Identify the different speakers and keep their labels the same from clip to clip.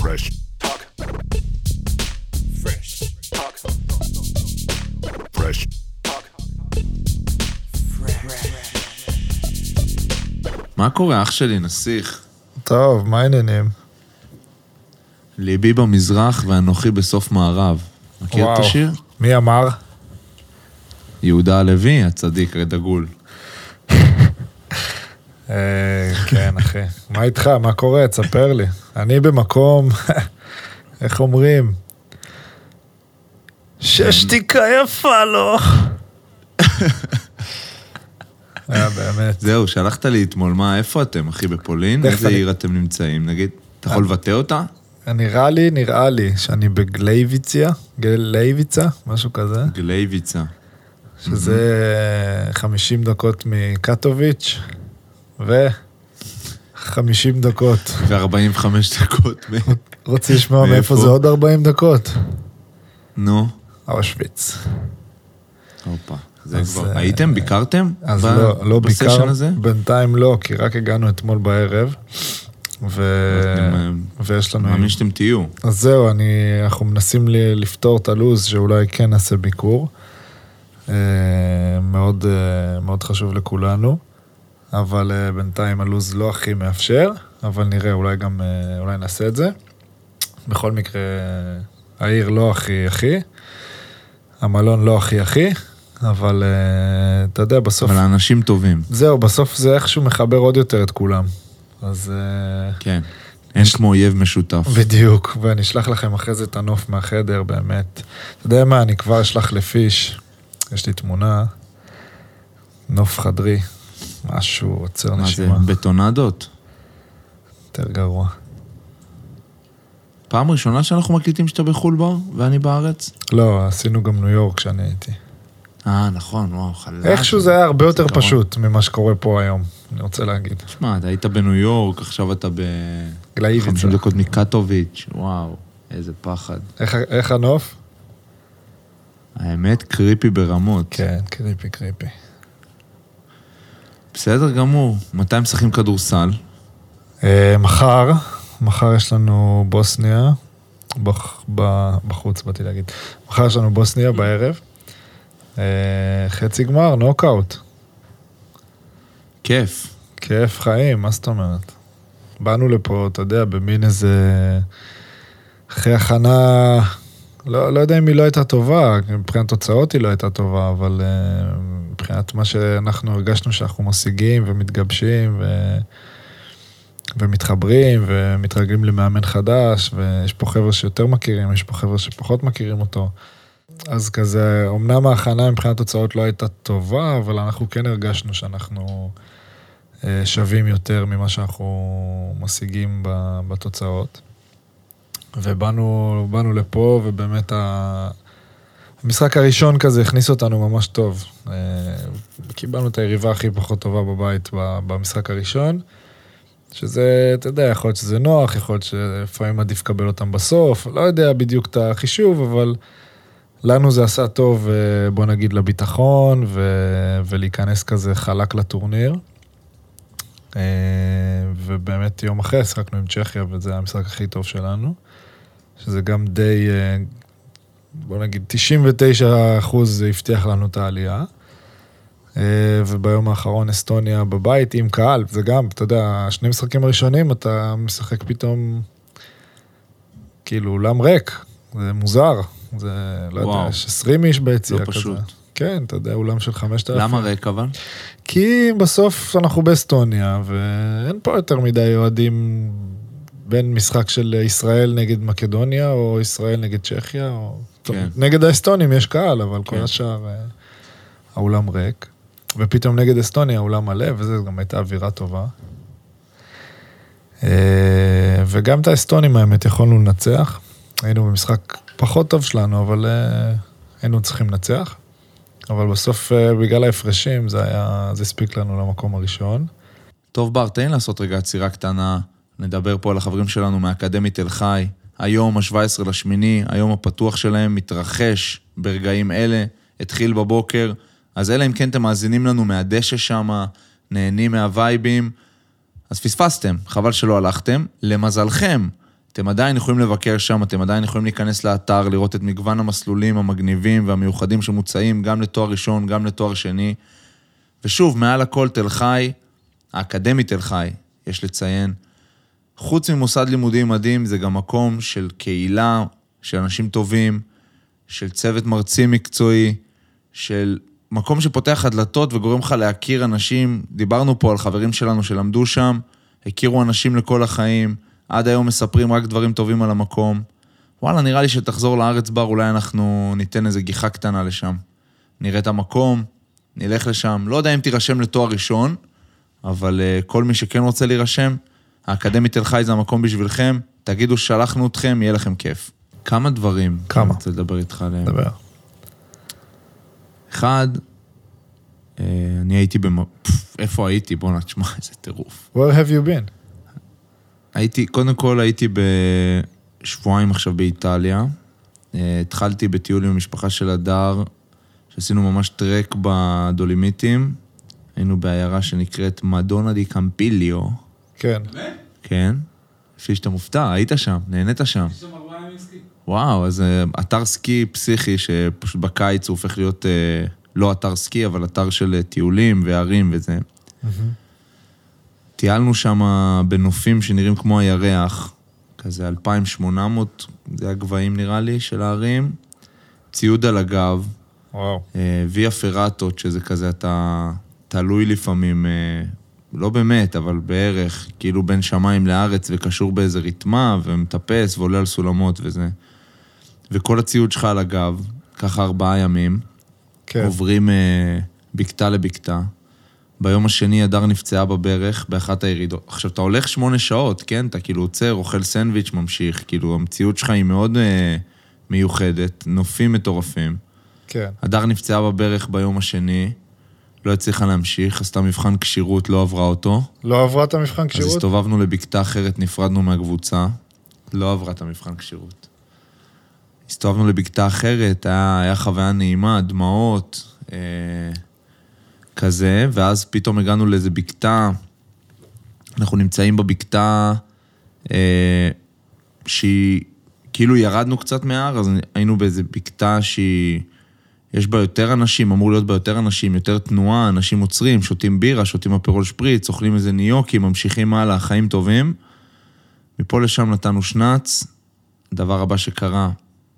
Speaker 1: Fresh talk. Fresh talk. Fresh talk.
Speaker 2: מה קורה, אח שלי, נסיך?
Speaker 3: טוב, מה העניינים?
Speaker 2: ליבי במזרח ואנוכי בסוף מערב. מכיר את
Speaker 3: וואו.
Speaker 2: השיר?
Speaker 3: מי אמר?
Speaker 2: יהודה הלוי, הצדיק, הדגול.
Speaker 3: אה, כן, אחי. מה איתך? מה קורה? תספר לי. אני במקום, איך אומרים? ששתיקה יפה לא. לו. אה, באמת.
Speaker 2: זהו, שלחת לי אתמול, מה, איפה אתם, אחי, בפולין?
Speaker 3: תכף
Speaker 2: איזה
Speaker 3: אני-
Speaker 2: עיר אתם נמצאים, נגיד?
Speaker 3: אה.
Speaker 2: אתה יכול לבטא אותה?
Speaker 3: נראה לי, נראה לי שאני בגלייביציה, גלייביצה, משהו כזה,
Speaker 2: גלייביצה.
Speaker 3: שזה 50 דקות מקטוביץ', ו... 50 דקות.
Speaker 2: ו-45 דקות. מ-
Speaker 3: רוצה לשמוע
Speaker 2: מאיפה?
Speaker 3: מאיפה זה עוד 40 דקות?
Speaker 2: נו,
Speaker 3: אושוויץ.
Speaker 2: הופה. זה
Speaker 3: אז,
Speaker 2: כבר...
Speaker 3: אה,
Speaker 2: הייתם? ביקרתם?
Speaker 3: אז
Speaker 2: ב-
Speaker 3: לא, לא
Speaker 2: בסשן
Speaker 3: ביקר,
Speaker 2: הזה?
Speaker 3: בינתיים לא, כי רק הגענו אתמול בערב, ו...
Speaker 2: אתם, אה,
Speaker 3: ויש לנו...
Speaker 2: מאמין שאתם תהיו.
Speaker 3: אז זהו, אני, אנחנו מנסים ל- לפתור את הלו"ז, שאולי כן נעשה ביקור. אה, מאוד, אה, מאוד חשוב לכולנו, אבל אה, בינתיים הלו"ז לא הכי מאפשר, אבל נראה, אולי גם, אה, אולי נעשה את זה. בכל מקרה, העיר לא הכי הכי, המלון לא הכי הכי, אבל אה, אתה יודע, בסוף,
Speaker 2: אבל האנשים טובים.
Speaker 3: זהו, בסוף זה איכשהו מחבר עוד יותר את כולם. אז... אה,
Speaker 2: כן. אין כמו אויב משותף.
Speaker 3: בדיוק, ואני אשלח לכם אחרי זה את הנוף מהחדר, באמת. אתה יודע מה, אני כבר אשלח לפיש, יש לי תמונה, נוף חדרי, משהו עוצר
Speaker 2: מה זה?
Speaker 3: נשימה,
Speaker 2: בטונדות?
Speaker 3: יותר גרוע.
Speaker 2: פעם ראשונה שאנחנו מקליטים שאתה בחו"ל בר ואני בארץ?
Speaker 3: לא, עשינו גם ניו יורק כשאני הייתי.
Speaker 2: אה, נכון, וואו, חלש.
Speaker 3: איכשהו זה היה הרבה יותר
Speaker 2: זיכרון.
Speaker 3: פשוט ממה שקורה פה היום, אני רוצה להגיד.
Speaker 2: שמע, אתה היית בניו יורק, עכשיו אתה ב...
Speaker 3: גלאיביצה.
Speaker 2: 50 דקות מקטוביץ', וואו, איזה פחד.
Speaker 3: איך- איך הנוף?
Speaker 2: האמת, קריפי ברמות.
Speaker 3: כן, קריפי קריפי.
Speaker 2: בסדר גמור. מתי משחקים כדורסל?
Speaker 3: אה, מחר, מחר יש לנו בוסניה, בח, ב, בחוץ באתי להגיד, מחר יש לנו בוסניה בערב, אה, חצי גמר, נוקאוט,
Speaker 2: כיף.
Speaker 3: כיף חיים, מה זאת אומרת? באנו לפה, אתה יודע, במין איזה... אחרי הכנה, לא, לא יודע אם היא לא הייתה טובה, מבחינת תוצאות היא לא הייתה טובה, אבל אה, מבחינת מה שאנחנו הרגשנו שאנחנו משיגים ומתגבשים ו... ומתחברים ומתרגלים למאמן חדש, ויש פה חבר'ה שיותר מכירים, יש פה חבר'ה שפחות מכירים אותו. אז כזה, אמנם ההכנה מבחינת תוצאות לא הייתה טובה, אבל אנחנו כן הרגשנו שאנחנו אה, שווים יותר ממה שאנחנו משיגים ב- בתוצאות. ובאנו באנו לפה, ובאמת ה... המשחק הראשון כזה הכניס אותנו ממש טוב. אה, קיבלנו את היריבה הכי פחות טובה בבית ב- במשחק הראשון, שזה, אתה יודע, יכול להיות שזה נוח, יכול להיות שלפעמים עדיף לקבל אותם בסוף, לא יודע בדיוק את החישוב, אבל לנו זה עשה טוב, אה, בוא נגיד, לביטחון, ו... ולהיכנס כזה חלק לטורניר. אה, ובאמת יום אחרי שיחקנו עם צ'כיה, וזה היה המשחק הכי טוב שלנו, שזה גם די, אה, בוא נגיד, 99 אחוז זה הבטיח לנו את העלייה. אה, וביום האחרון אסטוניה בבית עם קהל, זה גם, אתה יודע, שני משחקים הראשונים אתה משחק פתאום, כאילו, אולם ריק, זה מוזר, זה, לא
Speaker 2: וואו.
Speaker 3: יודע, יש 20 איש ביציאה
Speaker 2: לא
Speaker 3: כזה.
Speaker 2: פשוט.
Speaker 3: כן, אתה יודע, אולם של 5,000.
Speaker 2: למה ריק אבל?
Speaker 3: כי בסוף אנחנו באסטוניה, ואין פה יותר מדי אוהדים בין משחק של ישראל נגד מקדוניה, או ישראל נגד צ'כיה, או... טוב,
Speaker 2: כן.
Speaker 3: נגד האסטונים יש קהל, אבל כל
Speaker 2: כן.
Speaker 3: השאר אה, האולם ריק. ופתאום נגד אסטוניה האולם מלא, וזו גם הייתה אווירה טובה. אה, וגם את האסטונים האמת יכולנו לנצח. היינו במשחק פחות טוב שלנו, אבל אה, היינו צריכים לנצח. אבל בסוף, אה, בגלל ההפרשים, זה היה, זה הספיק לנו למקום הראשון.
Speaker 2: טוב בר, תן לי לעשות רגע עצירה קטנה. נדבר פה על החברים שלנו מהאקדמית תל חי. היום, ה-17 לשמיני, היום הפתוח שלהם מתרחש ברגעים אלה, התחיל בבוקר. אז אלא אם כן אתם מאזינים לנו מהדשא שמה, נהנים מהווייבים, אז פספסתם, חבל שלא הלכתם. למזלכם, אתם עדיין יכולים לבקר שם, אתם עדיין יכולים להיכנס לאתר, לראות את מגוון המסלולים המגניבים והמיוחדים שמוצעים גם לתואר ראשון, גם לתואר שני. ושוב, מעל הכל, תל חי, האקדמית תל חי, יש לציין, חוץ ממוסד לימודי מדהים, זה גם מקום של קהילה, של אנשים טובים, של צוות מרצים מקצועי, של מקום שפותח לך דלתות וגורם לך להכיר אנשים. דיברנו פה על חברים שלנו שלמדו שם, הכירו אנשים לכל החיים, עד היום מספרים רק דברים טובים על המקום. וואלה, נראה לי שתחזור לארץ בר, אולי אנחנו ניתן איזה גיחה קטנה לשם. נראה את המקום, נלך לשם. לא יודע אם תירשם לתואר ראשון, אבל uh, כל מי שכן רוצה להירשם, האקדמית תל חי זה המקום בשבילכם. תגידו ששלחנו אתכם, יהיה לכם כיף. כמה דברים.
Speaker 3: כמה?
Speaker 2: אני רוצה לדבר איתך עליהם.
Speaker 3: דבר.
Speaker 2: אחד, אה, אני הייתי במ... פפ, איפה הייתי? בואנה, תשמע, איזה טירוף.
Speaker 3: Where have you been?
Speaker 2: הייתי, קודם כל הייתי בשבועיים עכשיו באיטליה. אה, התחלתי בטיול עם המשפחה של הדר, שעשינו ממש טרק בדולימיטים. היינו בעיירה שנקראת מדונה די קמפיליו,
Speaker 3: כן.
Speaker 2: כן? לפי שאתה מופתע, היית שם, נהנית שם. וואו, אז אה, אתר סקי פסיכי, שפשוט בקיץ הוא הופך להיות אה, לא אתר סקי, אבל אתר של אה, טיולים וערים וזה. טיילנו שם בנופים שנראים כמו הירח, כזה 2,800, זה הגבהים נראה לי, של ההרים. ציוד על הגב,
Speaker 3: וואו.
Speaker 2: אה, ויה פרטות, שזה כזה, אתה תלוי לפעמים, אה, לא באמת, אבל בערך, כאילו בין שמיים לארץ, וקשור באיזה ריתמה, ומטפס, ועולה על סולמות וזה. וכל הציוד שלך על הגב, ככה ארבעה ימים. כן.
Speaker 3: כן.
Speaker 2: עוברים אה, בקתה לבקתה. ביום השני הדר נפצעה בברך באחת הירידות. עכשיו, אתה הולך שמונה שעות, כן? אתה כאילו עוצר, אוכל סנדוויץ', ממשיך. כאילו, המציאות שלך היא מאוד אה, מיוחדת, נופים מטורפים.
Speaker 3: כן.
Speaker 2: הדר נפצעה בברך ביום השני, לא הצליחה להמשיך, עשתה מבחן כשירות, לא עברה אותו.
Speaker 3: לא עברה את המבחן
Speaker 2: אז
Speaker 3: כשירות?
Speaker 2: הסתובבנו לבקתה אחרת, נפרדנו מהקבוצה. לא עברה את המבחן כשירות. הסתובבנו לבקתה אחרת, היה, היה חוויה נעימה, דמעות, אה, כזה, ואז פתאום הגענו לאיזה בקתה, אנחנו נמצאים בבקתה אה, שהיא, כאילו ירדנו קצת מההר, אז היינו באיזה בקתה שהיא, יש בה יותר אנשים, אמור להיות בה יותר אנשים, יותר תנועה, אנשים עוצרים, שותים בירה, שותים אפרול שפריץ, אוכלים איזה ניוקי, ממשיכים הלאה, חיים טובים. מפה לשם נתנו שנץ, הדבר הבא שקרה,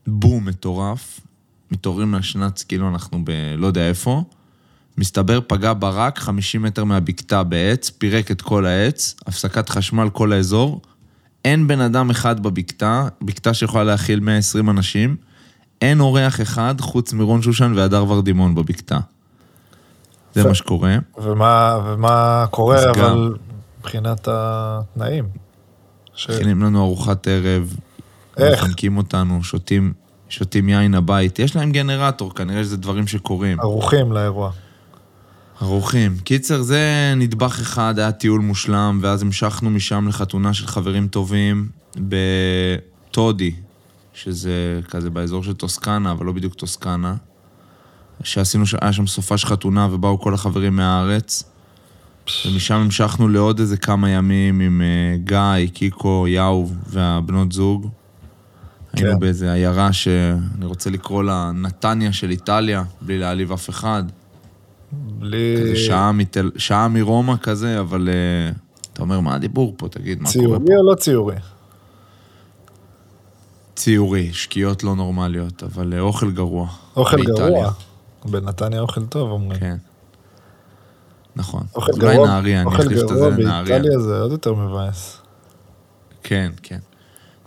Speaker 2: בום מטורף, מתעוררים מהשנץ כאילו אנחנו ב... לא יודע איפה. מסתבר פגע ברק 50 מטר מהבקתה בעץ, פירק את כל העץ, הפסקת חשמל כל האזור. אין בן אדם אחד בבקתה, בקתה שיכולה להכיל 120 אנשים, אין אורח אחד חוץ מרון שושן והדר ורדימון בבקתה. זה
Speaker 3: יפה.
Speaker 2: מה שקורה.
Speaker 3: ומה, ומה קורה,
Speaker 2: אז גם-
Speaker 3: אבל מבחינת התנאים? ש...
Speaker 2: מכינים לנו ארוחת ערב,
Speaker 3: איך?
Speaker 2: מחנקים אותנו, שותים, שותים יין הבית. יש להם גנרטור, כנראה שזה דברים שקורים.
Speaker 3: ערוכים לאירוע.
Speaker 2: ערוכים. קיצר, זה נדבך אחד, היה טיול מושלם, ואז המשכנו משם לחתונה של חברים טובים בטודי, שזה כזה באזור של טוסקנה, אבל לא בדיוק טוסקנה. שעשינו, ש- היה שם סופה של חתונה ובאו כל החברים מהארץ. ומשם המשכנו לעוד איזה כמה ימים עם אה, גיא, קיקו, יאו והבנות זוג.
Speaker 3: כן.
Speaker 2: היינו באיזה עיירה שאני רוצה לקרוא לה נתניה של איטליה, בלי להעליב אף אחד.
Speaker 3: בלי...
Speaker 2: כזה שעה, מתל... שעה מרומא כזה, אבל אה, אתה אומר, מה הדיבור פה? תגיד, מה קורה פה?
Speaker 3: ציורי או לא ציורי?
Speaker 2: ציורי, שקיעות לא נורמליות, אבל אה, אוכל גרוע.
Speaker 3: אוכל
Speaker 2: באיטליה.
Speaker 3: גרוע. בנתניה אוכל טוב, אומרים.
Speaker 2: כן. נכון.
Speaker 3: אוכל
Speaker 2: אז אולי
Speaker 3: גרוע,
Speaker 2: נהריה, אני
Speaker 3: אוכל
Speaker 2: אחליף את
Speaker 3: גרוע
Speaker 2: הזה, נהריה.
Speaker 3: באיטליה זה עוד יותר מבאס.
Speaker 2: כן, כן.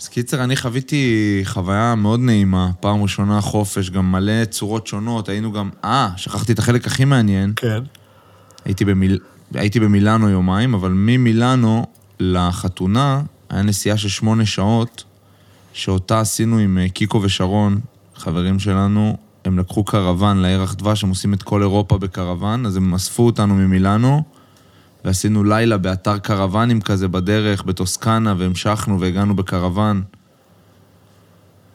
Speaker 2: אז קיצר, אני חוויתי חוויה מאוד נעימה, פעם ראשונה חופש, גם מלא צורות שונות, היינו גם... אה, שכחתי את החלק הכי מעניין.
Speaker 3: כן.
Speaker 2: הייתי, במיל... הייתי במילאנו יומיים, אבל ממילאנו לחתונה היה נסיעה של שמונה שעות, שאותה עשינו עם אה, קיקו ושרון, חברים שלנו. הם לקחו קרוון לירח דבש, הם עושים את כל אירופה בקרוון, אז הם אספו אותנו ממילאנו, ועשינו לילה באתר קרוונים כזה בדרך, בטוסקנה, והמשכנו והגענו בקרוון.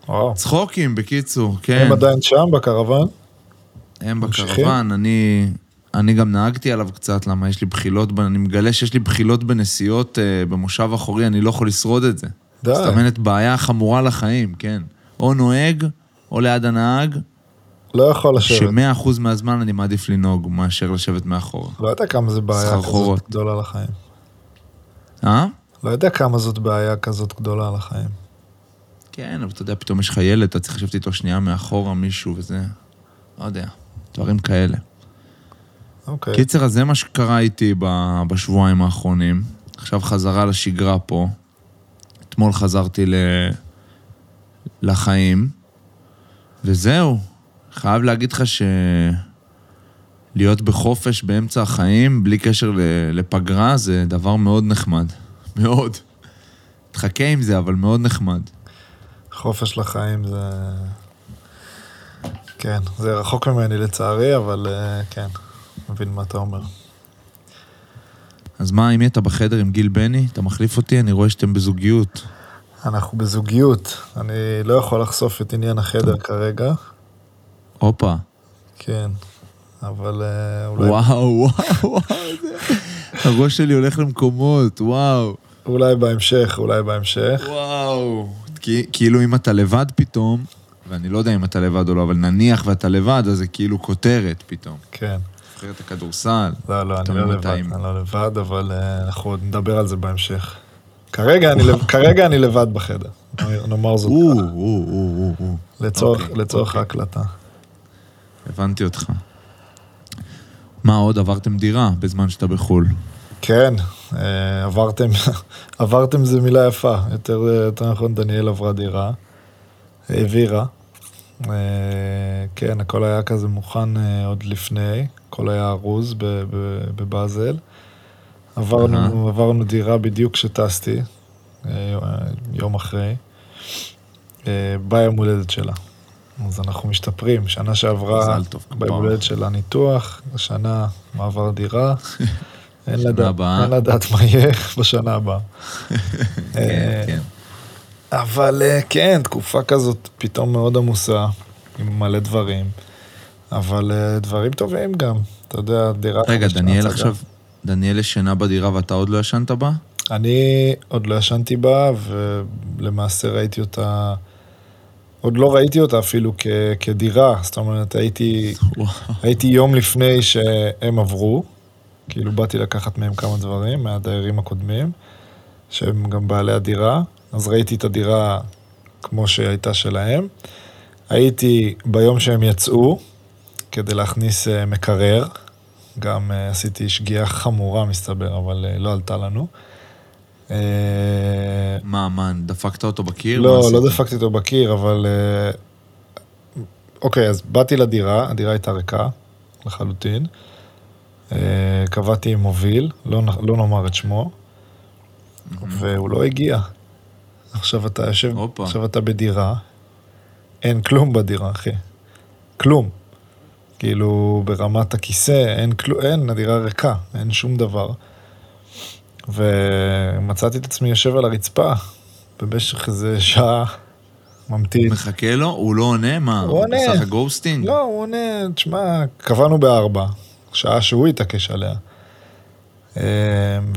Speaker 3: וואו.
Speaker 2: צחוקים, בקיצור, כן.
Speaker 3: הם עדיין שם בקרוון?
Speaker 2: הם
Speaker 3: ממשיכים?
Speaker 2: בקרוון, אני, אני גם נהגתי עליו קצת, למה יש לי בחילות, ב- אני מגלה שיש לי בחילות בנסיעות אה, במושב אחורי, אני לא יכול לשרוד את זה.
Speaker 3: די.
Speaker 2: מסתמנת בעיה חמורה לחיים, כן. או נוהג, או ליד הנהג,
Speaker 3: לא יכול לשבת.
Speaker 2: שמאה אחוז מהזמן אני מעדיף לנהוג מאשר לשבת מאחורה.
Speaker 3: לא יודע כמה זה בעיה
Speaker 2: סחרחורות.
Speaker 3: כזאת גדולה לחיים.
Speaker 2: אה?
Speaker 3: לא יודע כמה זאת בעיה כזאת גדולה לחיים.
Speaker 2: כן, אבל אתה יודע, פתאום יש לך ילד, אתה צריך לשבת איתו שנייה מאחורה מישהו וזה. לא יודע, דברים כאלה.
Speaker 3: אוקיי.
Speaker 2: קיצר, אז זה מה שקרה איתי ב- בשבועיים האחרונים. עכשיו חזרה לשגרה פה. אתמול חזרתי ל... לחיים, וזהו. חייב להגיד לך ש... להיות בחופש באמצע החיים, בלי קשר ל- לפגרה, זה דבר מאוד נחמד. מאוד. תחכה עם זה, אבל מאוד נחמד.
Speaker 3: חופש לחיים זה... כן, זה רחוק ממני לצערי, אבל אה, כן, מבין מה אתה אומר.
Speaker 2: אז מה, אם אתה בחדר עם גיל בני, אתה מחליף אותי, אני רואה שאתם בזוגיות.
Speaker 3: אנחנו בזוגיות, אני לא יכול לחשוף את עניין החדר כרגע,
Speaker 2: הופה.
Speaker 3: כן, אבל אה, אולי,
Speaker 2: וואו, וואו, וואו, זה- הראש שלי הולך למקומות, וואו.
Speaker 3: אולי בהמשך, אולי בהמשך.
Speaker 2: וואו. כי- כאילו אם אתה לבד פתאום, ואני לא יודע אם אתה לבד או לא, אבל נניח ואתה לבד, אז זה כאילו כותרת פתאום.
Speaker 3: כן,
Speaker 2: נבחרת הכדורסל.
Speaker 3: לא, לא, אני
Speaker 2: תמיד
Speaker 3: לא לבד,
Speaker 2: מתאים.
Speaker 3: אני לא לבד, אבל אה, אנחנו עוד נדבר על זה בהמשך. כרגע אני, לב- כרגע אני לבד בחדר, נאמר- נאמר זאת
Speaker 2: או, או, או, או, או.
Speaker 3: לצורך,
Speaker 2: אוקיי,
Speaker 3: לצורך
Speaker 2: אוקיי.
Speaker 3: ההקלטה.
Speaker 2: הבנתי אותך. מה עוד, עברתם דירה בזמן שאתה בחו"ל.
Speaker 3: כן, אה, עברתם, עברתם זה מילה יפה, יותר, יותר נכון דניאל עברה דירה, העבירה. אה, כן, הכל היה כזה מוכן אה, עוד לפני, הכל היה ארוז ב- ב- בבאזל. עברנו, עברנו דירה בדיוק כשטסתי, אה, יום אחרי, אה, ביום הולדת שלה. אז אנחנו משתפרים, שנה שעברה,
Speaker 2: מזל טוב,
Speaker 3: ביום
Speaker 2: כפרה.
Speaker 3: הולדת שלה ניתוח, השנה מעבר דירה. אין
Speaker 2: שנה
Speaker 3: לדעת-
Speaker 2: הבאה.
Speaker 3: אין לדעת מה יהיה בשנה הבאה.
Speaker 2: כן,
Speaker 3: אה,
Speaker 2: כן.
Speaker 3: אבל אה, כן, תקופה כזאת פתאום מאוד עמוסה, עם מלא דברים. אבל אה, דברים טובים גם, אתה יודע, דירה...
Speaker 2: רגע,
Speaker 3: חדשה,
Speaker 2: דניאל
Speaker 3: הצגה.
Speaker 2: עכשיו, דניאל ישנה בדירה ואתה עוד לא ישנת בה?
Speaker 3: אני עוד לא ישנתי בה, ולמעשה ראיתי אותה... עוד לא ראיתי אותה אפילו כ, כדירה, זאת אומרת, הייתי,
Speaker 2: וואו.
Speaker 3: הייתי יום לפני שהם עברו, כאילו באתי לקחת מהם כמה דברים, מהדיירים הקודמים, שהם גם בעלי הדירה, אז ראיתי את הדירה כמו שהייתה שלהם. הייתי ביום שהם יצאו, כדי להכניס אה, מקרר, גם אה, עשיתי שגיאה חמורה מסתבר, אבל אה, לא עלתה לנו. אה,
Speaker 2: מה, מה, דפקת אותו בקיר? מה
Speaker 3: לא,
Speaker 2: עשית?
Speaker 3: לא דפקתי אותו בקיר, אבל... אה, אוקיי, אז באתי לדירה, הדירה הייתה ריקה לחלוטין. אה, קבעתי עם מוביל, לא, נ- לא נאמר את שמו, והוא לא הגיע. עכשיו אתה יושב,
Speaker 2: הופה.
Speaker 3: עכשיו אתה בדירה, אין כלום בדירה, אחי. כלום. כאילו, ברמת הכיסא, אין כלום, אין, הדירה ריקה, אין שום דבר. ומצאתי את עצמי יושב על הרצפה במשך איזה שעה, ממתין.
Speaker 2: מחכה לו? הוא לא עונה? מה?
Speaker 3: הוא עונה.
Speaker 2: עשה לך גוסטינג?
Speaker 3: לא, הוא עונה, תשמע, קבענו בארבע, שעה שהוא התעקש עליה. אמ,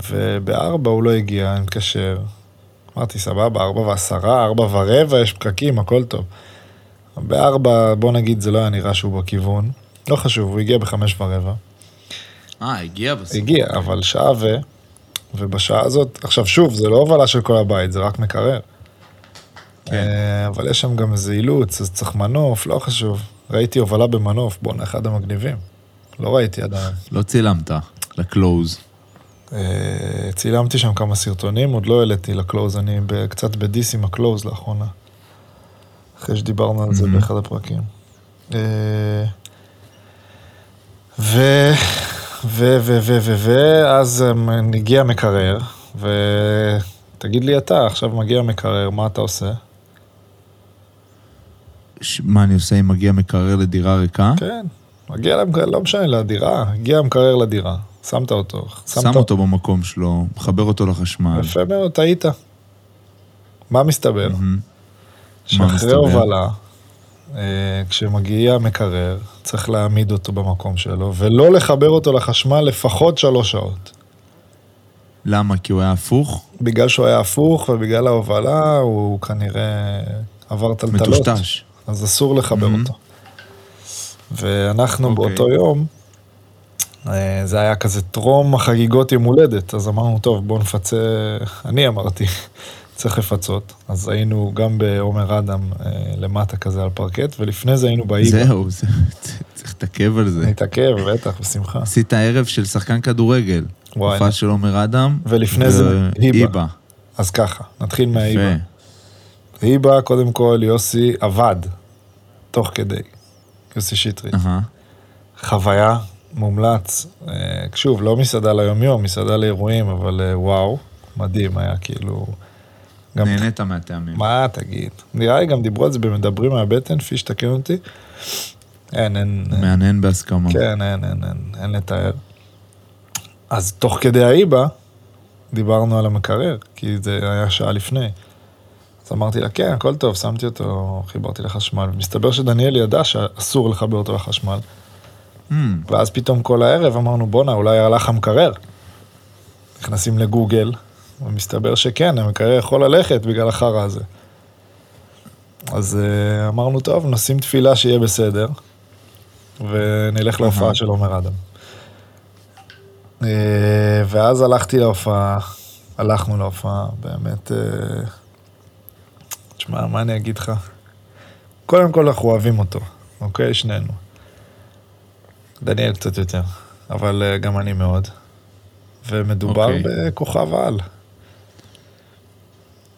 Speaker 3: ובארבע הוא לא הגיע, אני מתקשר. אמרתי, סבבה, ארבע ועשרה, ארבע ורבע, יש פקקים, הכל טוב. בארבע, בוא נגיד, זה לא היה נראה שהוא בכיוון. לא חשוב, הוא הגיע בחמש ורבע.
Speaker 2: אה, הגיע בסוף.
Speaker 3: הגיע, אבל שעה ו... ובשעה הזאת, עכשיו שוב, זה לא הובלה של כל הבית, זה רק מקרר.
Speaker 2: כן.
Speaker 3: אה, אבל יש שם גם איזה אילוץ, אז צריך מנוף, לא חשוב. ראיתי הובלה במנוף, בואנה, אחד המגניבים. לא ראיתי עדיין.
Speaker 2: לא צילמת לקלוז.
Speaker 3: אה, צילמתי שם כמה סרטונים, עוד לא העליתי לקלוז, אני ב- קצת בדיס עם הקלוז לאחרונה. אחרי שדיברנו על זה
Speaker 2: Mhm.
Speaker 3: באחד הפרקים. אה, ו... ו... ו... ו... ו... ואז אמ, הגיע מקרר, ותגיד לי אתה, עכשיו מגיע מקרר, מה אתה עושה?
Speaker 2: ש- מה אני עושה אם מגיע מקרר לדירה ריקה?
Speaker 3: כן, מגיע למקרר, לא משנה, לדירה, הגיע המקרר לדירה, שמת אותו.
Speaker 2: שם אותו במקום שלו, מחבר אותו לחשמל.
Speaker 3: יפה מאוד, טעית. מה מסתבר?
Speaker 2: מהמם.
Speaker 3: שאחרי
Speaker 2: מסתבר?
Speaker 3: הובלה, אה, כשמגיע המקרר, צריך להעמיד אותו במקום שלו, ולא לחבר אותו לחשמל לפחות שלוש שעות.
Speaker 2: למה? כי הוא היה הפוך?
Speaker 3: בגלל שהוא היה הפוך ובגלל ההובלה, הוא כנראה עבר טלטלות.
Speaker 2: מטושטש.
Speaker 3: אז אסור לחבר
Speaker 2: Mhm.
Speaker 3: אותו. ואנחנו
Speaker 2: אוקיי.
Speaker 3: באותו יום, אה, זה היה כזה טרום החגיגות יום הולדת, אז אמרנו, טוב, בואו נפצה, אני אמרתי, צריך לפצות. אז היינו גם בעומר אדם אה, למטה כזה על פרקט, ולפני זה היינו באיבה.
Speaker 2: זהו, זה- צריך להתעכב על זה.
Speaker 3: נתעכב, בטח, בשמחה.
Speaker 2: עשית ערב של שחקן כדורגל.
Speaker 3: וואי,
Speaker 2: הופעה של עומר אדם.
Speaker 3: ולפני זה
Speaker 2: ו-
Speaker 3: היבה.
Speaker 2: היבה.
Speaker 3: אז ככה, נתחיל מהאיבה.
Speaker 2: יפה.
Speaker 3: היבה, קודם כל, יוסי עבד, תוך כדי, יוסי שטרית.
Speaker 2: אהה.
Speaker 3: חוויה, מומלץ. אה, שוב, לא מסעדה ליומיום, מסעדה לאירועים, אבל אה, וואו, מדהים היה, כאילו... גם...
Speaker 2: נהנית מהטעמים.
Speaker 3: מה תגיד? נראה לי גם דיברו על זה במדברים מהבטן, פיש תקן אותי. אין, אין, אין,
Speaker 2: מעניין בהסכמה.
Speaker 3: כן, אין, אין, אין, אין לתאר. אז תוך כדי האיבה, דיברנו על המקרר, כי זה היה שעה לפני. אז אמרתי לה, כן, הכל טוב, שמתי אותו, חיברתי לחשמל. מסתבר שדניאל ידע שאסור לחבר אותו לחשמל.
Speaker 2: Hmm,
Speaker 3: Mm. ואז פתאום כל הערב אמרנו, בואנה, אולי הלך המקרר. נכנסים לגוגל, ומסתבר שכן, המקרר יכול ללכת בגלל החרא הזה. אז אה, אמרנו, טוב, נשים תפילה שיהיה בסדר, ונלך להופעה של עומר אדם. אה, ואז הלכתי להופעה, הלכנו להופעה, באמת, אה, תשמע, מה אני אגיד לך? קודם כל אנחנו אוהבים אותו, אוקיי? שנינו. דניאל קצת יותר, אבל אה, גם אני מאוד. ומדובר
Speaker 2: אוקיי.
Speaker 3: בכוכב על.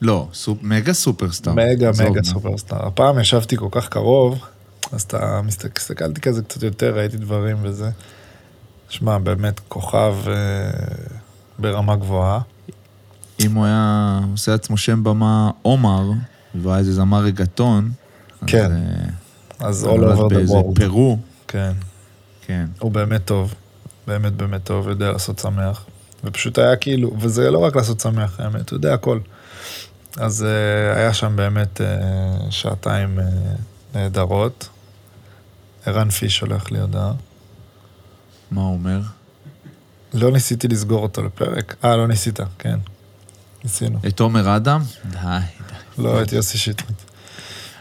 Speaker 2: לא, סופ- מגה סופרסטאר.
Speaker 3: מגה,
Speaker 2: עזוב,
Speaker 3: מגה
Speaker 2: נו.
Speaker 3: סופרסטאר. הפעם ישבתי כל כך קרוב, אז אתה מסתכל, הסתכלתי כזה קצת יותר, ראיתי דברים וזה. שמע, באמת כוכב אה, ברמה גבוהה.
Speaker 2: אם הוא היה עושה לעצמו שם במה עומר, והוא היה איזה זמר רגטון,
Speaker 3: כן,
Speaker 2: אז
Speaker 3: אז
Speaker 2: אה,
Speaker 3: all
Speaker 2: נולד
Speaker 3: over the
Speaker 2: באיזה
Speaker 3: world.
Speaker 2: פרו,
Speaker 3: כן.
Speaker 2: כן.
Speaker 3: הוא באמת טוב, באמת באמת טוב, יודע לעשות שמח. ופשוט היה כאילו, וזה לא רק לעשות שמח, האמת, הוא יודע הכל. אז אה, היה שם באמת אה, שעתיים אה, נהדרות. ערן פיש שולח לי הודעה.
Speaker 2: מה הוא אומר?
Speaker 3: לא ניסיתי לסגור אותו לפרק. אה, לא ניסית, כן. ניסינו.
Speaker 2: את עומר אדם? די, די.
Speaker 3: לא, את יוסי שטרית.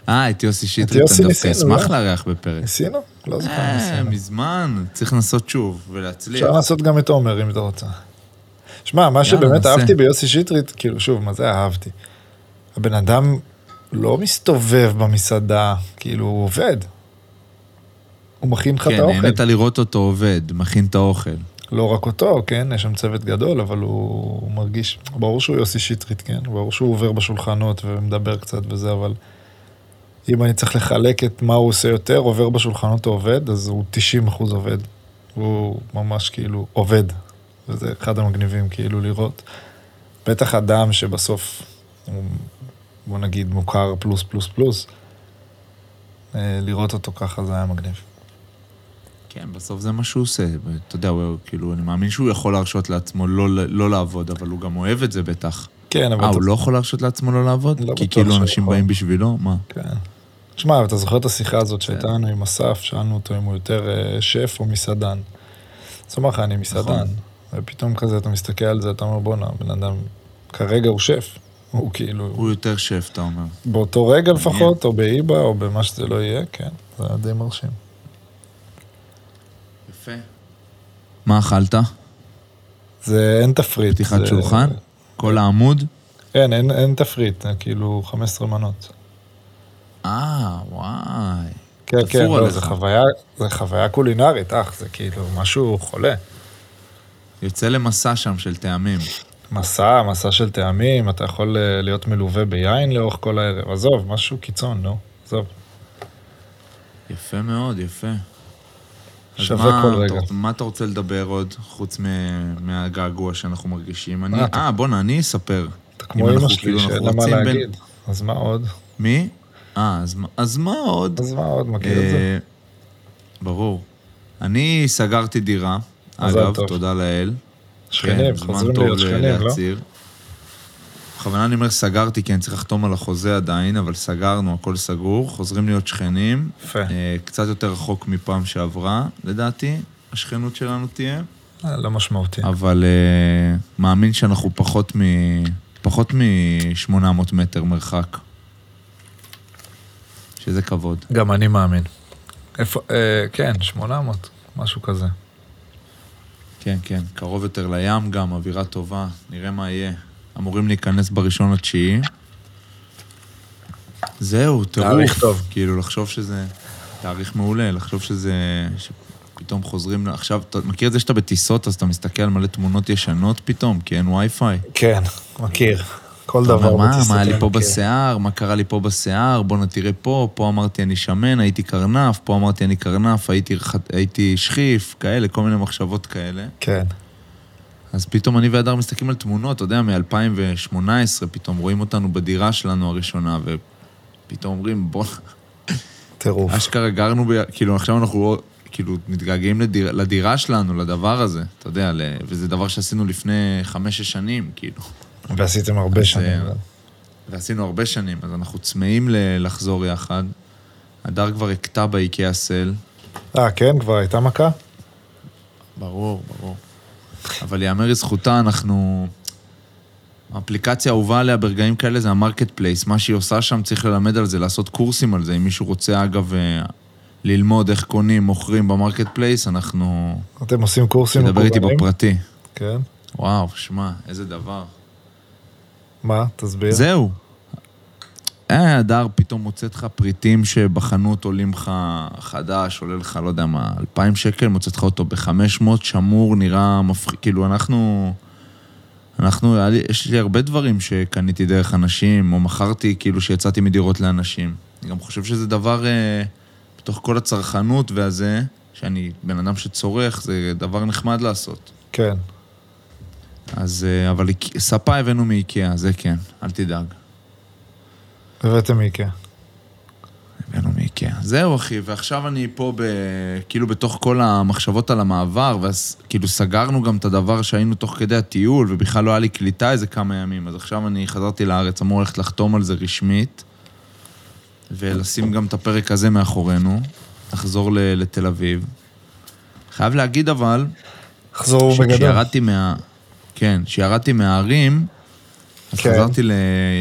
Speaker 2: אה, את יוסי
Speaker 3: את
Speaker 2: שטרית,
Speaker 3: יוסי
Speaker 2: אני דווקא
Speaker 3: ניסינו,
Speaker 2: אשמח
Speaker 3: לא?
Speaker 2: לארח בפרק.
Speaker 3: ניסינו? לא זוכר,
Speaker 2: אה,
Speaker 3: ניסינו.
Speaker 2: מזמן, צריך לנסות שוב ולהצליח.
Speaker 3: אפשר לעשות גם את עומר אם אתה רוצה. שמע, מה שבאמת
Speaker 2: נעשה.
Speaker 3: אהבתי ביוסי שטרית, כאילו, שוב, מה זה אהבתי? הבן אדם לא מסתובב במסעדה, כאילו, הוא עובד. הוא מכין לך את
Speaker 2: כן,
Speaker 3: האוכל.
Speaker 2: נהנית לראות אותו עובד, מכין את האוכל.
Speaker 3: לא רק אותו, כן? יש שם צוות גדול, אבל הוא, הוא מרגיש... ברור שהוא יוסי שטרית, כן? ברור שהוא עובר בשולחנות ומדבר קצת וזה, אבל... אם אני צריך לחלק את מה הוא עושה יותר, עובר בשולחנות או עובד, אז הוא 90 אחוז עובד. הוא ממש כאילו עובד. וזה אחד המגניבים כאילו לראות. בטח אדם שבסוף הוא, בוא נגיד, מוכר פלוס פלוס פלוס, אה, לראות אותו ככה זה היה מגניב.
Speaker 2: כן, בסוף זה מה שהוא עושה. אתה יודע, הוא כאילו, אני מאמין שהוא יכול להרשות לעצמו לא, לא לעבוד, אבל הוא גם אוהב את זה בטח.
Speaker 3: כן, אבל...
Speaker 2: אה,
Speaker 3: אתה-
Speaker 2: הוא לא יכול להרשות לעצמו לא לעבוד?
Speaker 3: לא
Speaker 2: כי
Speaker 3: בטוח
Speaker 2: כאילו
Speaker 3: שהוא
Speaker 2: אנשים
Speaker 3: יכול.
Speaker 2: באים בשבילו? מה?
Speaker 3: כן. שמע, אתה זוכר את השיחה הזאת שהייתה
Speaker 2: כן.
Speaker 3: לנו עם אסף, שאלנו אותו אם הוא יותר אה, שף או מסעדן. אז הוא אמר לך, אני מסעדן.
Speaker 2: נכון.
Speaker 3: ופתאום כזה אתה מסתכל על זה, אתה אומר, בואנה, הבן אדם כרגע הוא שף. הוא כאילו,
Speaker 2: הוא יותר שף, אתה אומר.
Speaker 3: באותו רגע
Speaker 2: מעניין.
Speaker 3: לפחות, או באיבה, או במה שזה לא יהיה, כן, זה היה די מרשים.
Speaker 2: יפה. מה אכלת?
Speaker 3: זה אין תפריט.
Speaker 2: פתיחת
Speaker 3: זה-
Speaker 2: שולחן? כל העמוד?
Speaker 3: אין, אין, אין תפריט, זה כאילו 15 מנות.
Speaker 2: אה, וואי.
Speaker 3: כן,
Speaker 2: תפור
Speaker 3: כן, לא,
Speaker 2: עליך.
Speaker 3: זה חוויה, זה חוויה קולינרית, אח, זה כאילו משהו חולה.
Speaker 2: יוצא למסע שם של טעמים.
Speaker 3: מסע, מסע של טעמים, אתה יכול אה, להיות מלווה ביין לאורך כל הערב. עזוב, משהו קיצון, נו, עזוב.
Speaker 2: יפה מאוד, יפה. אז
Speaker 3: שווה
Speaker 2: מה
Speaker 3: כל
Speaker 2: אתה-
Speaker 3: רגע.
Speaker 2: מה אתה רוצה לדבר עוד, חוץ מ- מהגעגוע שאנחנו מרגישים? אני-
Speaker 3: אתה-
Speaker 2: אה, בוא'נה, אני אספר.
Speaker 3: אתה
Speaker 2: אם
Speaker 3: כמו
Speaker 2: אנחנו
Speaker 3: אמא שלי,
Speaker 2: כאילו, אנחנו
Speaker 3: שאין לה מה
Speaker 2: רוצים בין-
Speaker 3: להגיד. אז מה עוד?
Speaker 2: מי? אה, אז מה- אז מה עוד?
Speaker 3: אז מה עוד, מכיר את זה?
Speaker 2: אה, ברור. אני סגרתי דירה,
Speaker 3: מזל
Speaker 2: אגב,
Speaker 3: טוב.
Speaker 2: תודה לאל.
Speaker 3: שכנים,
Speaker 2: כן, זמן
Speaker 3: חוזרים
Speaker 2: טוב
Speaker 3: להיות
Speaker 2: ל-
Speaker 3: שכנים, לא?
Speaker 2: להצהיר. בכוונה אני אומר סגרתי, כי אני צריך לחתום על החוזה עדיין, אבל סגרנו, הכל סגור, חוזרים להיות שכנים.
Speaker 3: יפה.
Speaker 2: אה, קצת יותר רחוק מפעם שעברה, לדעתי, השכנות שלנו תהיה.
Speaker 3: אה, לא משמעותי.
Speaker 2: אבל אה, מאמין שאנחנו פחות מ... פחות מ-800 מטר מרחק. שזה כבוד.
Speaker 3: גם אני מאמין. איפה, אה, כן, 800, משהו כזה.
Speaker 2: כן, כן, קרוב יותר לים גם, אווירה טובה, נראה מה יהיה. אמורים להיכנס בראשון לתשיעי. זהו, טירוף.
Speaker 3: תאריך טוב.
Speaker 2: כאילו, לחשוב שזה... תאריך מעולה, לחשוב שזה... שפתאום חוזרים... ל- עכשיו, אתה מכיר את זה שאתה בטיסות, אז אתה מסתכל על מלא תמונות ישנות פתאום, כי אין וי-פיי.
Speaker 3: כן, מכיר. כל
Speaker 2: אתה אומר,
Speaker 3: דבר
Speaker 2: מה,
Speaker 3: בטיסות כן.
Speaker 2: מה היה לי
Speaker 3: אני
Speaker 2: פה
Speaker 3: מכיר."
Speaker 2: בשיער, מה קרה לי פה בשיער, בואנה תראה פה, פה אמרתי אני שמן, הייתי קרנף, פה אמרתי אני קרנף, הייתי, רח- הייתי שכיף, כאלה, כל מיני מחשבות כאלה.
Speaker 3: כן.
Speaker 2: אז פתאום אני והדר מסתכלים על תמונות, אתה יודע, מ-2018, פתאום רואים אותנו בדירה שלנו הראשונה, ופתאום אומרים, בוא,
Speaker 3: טירוף.
Speaker 2: אשכרה גרנו, ב... כאילו עכשיו אנחנו כאילו מתגעגעים לדיר... לדירה שלנו, לדבר הזה, אתה יודע, ל... וזה דבר שעשינו לפני חמש-שש שנים, כאילו.
Speaker 3: ועשיתם הרבה שנים.
Speaker 2: אה, ועשינו הרבה שנים, אז אנחנו צמאים ל... לחזור יחד. הדר כבר הכתה באיקאה סל.
Speaker 3: אה, כן? כבר הייתה מכה?
Speaker 2: ברור, ברור. אבל ייאמר לזכותה, אנחנו... האפליקציה האהובה עליה ברגעים כאלה זה המרקט פלייס. מה שהיא עושה שם, צריך ללמד על זה, לעשות קורסים על זה. אם מישהו רוצה, אגב, אה, ללמוד איך קונים, מוכרים במרקט פלייס, אנחנו...
Speaker 3: אתם עושים קורסים
Speaker 2: תדבר איתי
Speaker 3: מקוונים?
Speaker 2: בפרטי.
Speaker 3: כן.
Speaker 2: וואו, שמע, איזה דבר.
Speaker 3: מה? תסביר.
Speaker 2: זהו. אה, הדר פתאום מוצאת לך פריטים שבחנות עולים לך חדש, עולה לך, לא יודע מה, 2,000 שקל, מוצאת לך אותו ב-500, שמור, נראה מפחיד. כאילו, אנחנו... אנחנו, היה לי- יש לי הרבה דברים שקניתי דרך אנשים, או מכרתי, כאילו, שיצאתי מדירות לאנשים. אני גם חושב שזה דבר, אה, בתוך כל הצרכנות והזה, שאני בן אדם שצורך, זה דבר נחמד לעשות.
Speaker 3: כן.
Speaker 2: אז, אה, אבל איקא- ספה הבאנו מאיקאה, זה כן, אל תדאג.
Speaker 3: הבאתם איקאה.
Speaker 2: הבאנו מאיקאה. זהו, אחי, ועכשיו אני פה ב... כאילו בתוך כל המחשבות על המעבר, ואז כאילו סגרנו גם את הדבר שהיינו תוך כדי הטיול, ובכלל לא היה לי קליטה איזה כמה ימים, אז עכשיו אני חזרתי לארץ, אמור ללכת לחתום על זה רשמית, ולשים גם את הפרק הזה מאחורינו, לחזור ל- לתל אביב. חייב להגיד אבל,
Speaker 3: חזרו בגדול.
Speaker 2: כשירדתי מה... כן, כשירדתי מההרים, אז
Speaker 3: כן.
Speaker 2: חזרתי ל...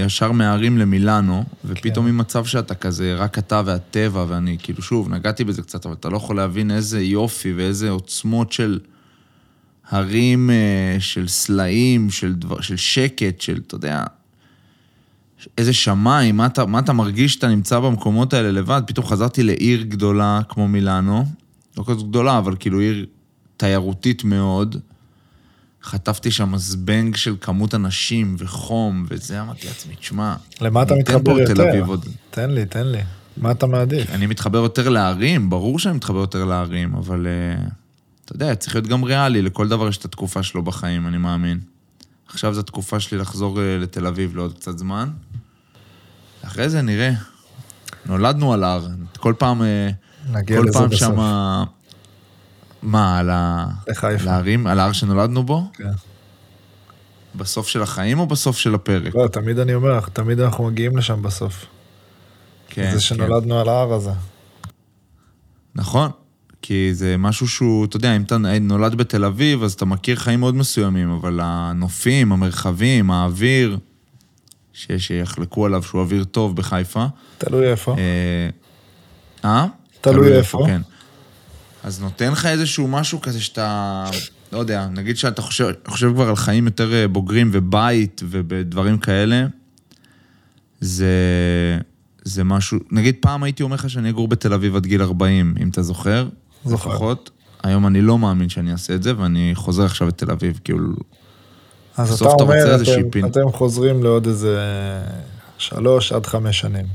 Speaker 2: ישר מההרים למילאנו, ופתאום עם מצב שאתה כזה, רק אתה והטבע, ואני כאילו, שוב, נגעתי בזה קצת, אבל אתה לא יכול להבין איזה יופי ואיזה עוצמות של הרים, אה, של סלעים, של, דבר, של שקט, של, אתה יודע, איזה שמיים, מה אתה, מה אתה מרגיש שאתה נמצא במקומות האלה לבד? פתאום חזרתי לעיר גדולה כמו מילאנו, לא כזאת גדולה, אבל כאילו עיר תיירותית מאוד. חטפתי שם זבנג של כמות אנשים וחום, וזה אמרתי לעצמי, תשמע,
Speaker 3: למה אתה
Speaker 2: אני אתן
Speaker 3: מתחבר
Speaker 2: פה לתל
Speaker 3: יותר?
Speaker 2: אביב עוד.
Speaker 3: תן לי, תן לי. מה אתה מעדיף?
Speaker 2: אני מתחבר יותר להרים, ברור שאני מתחבר יותר להרים, אבל אה, אתה יודע, צריך להיות גם ריאלי, לכל דבר יש את התקופה שלו בחיים, אני מאמין. עכשיו זו התקופה שלי לחזור אה, לתל אביב לעוד קצת זמן. אחרי זה נראה. נולדנו על ההר, כל פעם, אה,
Speaker 3: נגיע
Speaker 2: כל
Speaker 3: לזה
Speaker 2: פעם
Speaker 3: בסוף.
Speaker 2: שמה... מה, על ה-
Speaker 3: לחיפה.
Speaker 2: על ההרים? על ההר שנולדנו בו?
Speaker 3: כן.
Speaker 2: בסוף של החיים או בסוף של הפרק?
Speaker 3: לא, תמיד אני אומר לך, תמיד אנחנו מגיעים לשם בסוף.
Speaker 2: כן,
Speaker 3: זה
Speaker 2: כן.
Speaker 3: שנולדנו על ההר הזה.
Speaker 2: נכון, כי זה משהו שהוא, אתה יודע, אם אתה נולד בתל אביב, אז אתה מכיר חיים מאוד מסוימים, אבל הנופים, המרחבים, האוויר, ש- שיחלקו עליו שהוא אוויר טוב בחיפה.
Speaker 3: תלוי איפה.
Speaker 2: אה? אה?
Speaker 3: תלוי איפה.
Speaker 2: כן. אז נותן לך איזשהו משהו כזה שאתה, לא יודע, נגיד שאתה חושב, חושב כבר על חיים יותר אה, בוגרים ובית ובדברים כאלה, זה, זה משהו, נגיד פעם הייתי אומר לך שאני אגור בתל אביב עד גיל 40, אם אתה זוכר.
Speaker 3: זוכר.
Speaker 2: לפחות. היום אני לא מאמין שאני אעשה את זה, ואני חוזר עכשיו לתל אביב, כאילו...
Speaker 3: אז אתה
Speaker 2: בסוף אתה
Speaker 3: אומר,
Speaker 2: רוצה איזה
Speaker 3: אתם,
Speaker 2: שיפין.
Speaker 3: אתם חוזרים לעוד איזה שלוש עד חמש שנים.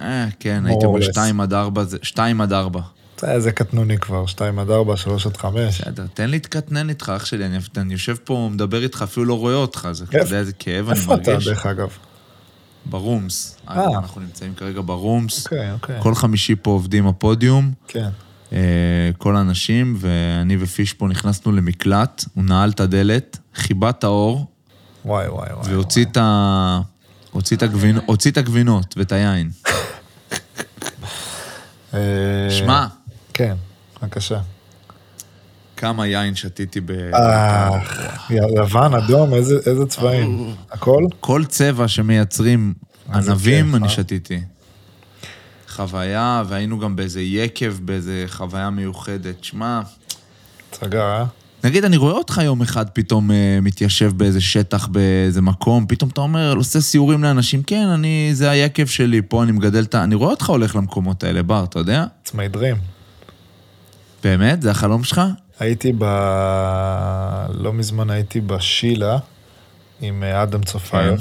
Speaker 2: אה, כן,
Speaker 3: more
Speaker 2: הייתי
Speaker 3: or
Speaker 2: אומר
Speaker 3: less.
Speaker 2: 2 עד 4, 2 עד 4.
Speaker 3: זה, זה קטנוני כבר, שתיים עד ארבע, שלוש עד חמש.
Speaker 2: בסדר, תן לי להתקטנן איתך, אח שלי, אני, אני יושב פה, מדבר איתך, אפילו לא רואה אותך, זה, אתה יודע איזה כאב אני
Speaker 3: איפה אתה,
Speaker 2: מרגיש.
Speaker 3: דרך אגב?
Speaker 2: ברומס.
Speaker 3: אה.
Speaker 2: אנחנו נמצאים כרגע ברומס.
Speaker 3: אוקיי, אוקיי.
Speaker 2: כל חמישי פה עובדים הפודיום,
Speaker 3: כן.
Speaker 2: אה, כל האנשים, ואני ופיש פה נכנסנו למקלט, הוא נעל את הדלת, כיבה את האור,
Speaker 3: וואי, וואי, וואי.
Speaker 2: והוציא את ה... הוציא את הגבינות, הוציא את הגבינות ואת היין.
Speaker 3: וואי. אה,
Speaker 2: שמע,
Speaker 3: כן, בבקשה.
Speaker 2: כמה יין שתיתי ב...
Speaker 3: אה, י- לבן, אדום, איזה איזה צבעים. הכל?
Speaker 2: כל צבע שמייצרים
Speaker 3: איזה
Speaker 2: ענבים,
Speaker 3: כיף,
Speaker 2: אני
Speaker 3: אה?
Speaker 2: שתיתי. חוויה, והיינו גם באיזה יקב, באיזה חוויה מיוחדת. שמע,
Speaker 3: הצגה, אה?
Speaker 2: נגיד, אני רואה אותך יום אחד פתאום אה, מתיישב באיזה שטח, באיזה מקום, פתאום אתה אומר, עושה סיורים לאנשים, כן, אני, זה היקב שלי, פה אני מגדל את ה... אני רואה אותך הולך למקומות האלה, בר, אתה יודע?
Speaker 3: עצמאי דרים.
Speaker 2: באמת? זה החלום שלך?
Speaker 3: הייתי ב... לא מזמן הייתי בשילה עם אה, אדם צופייב.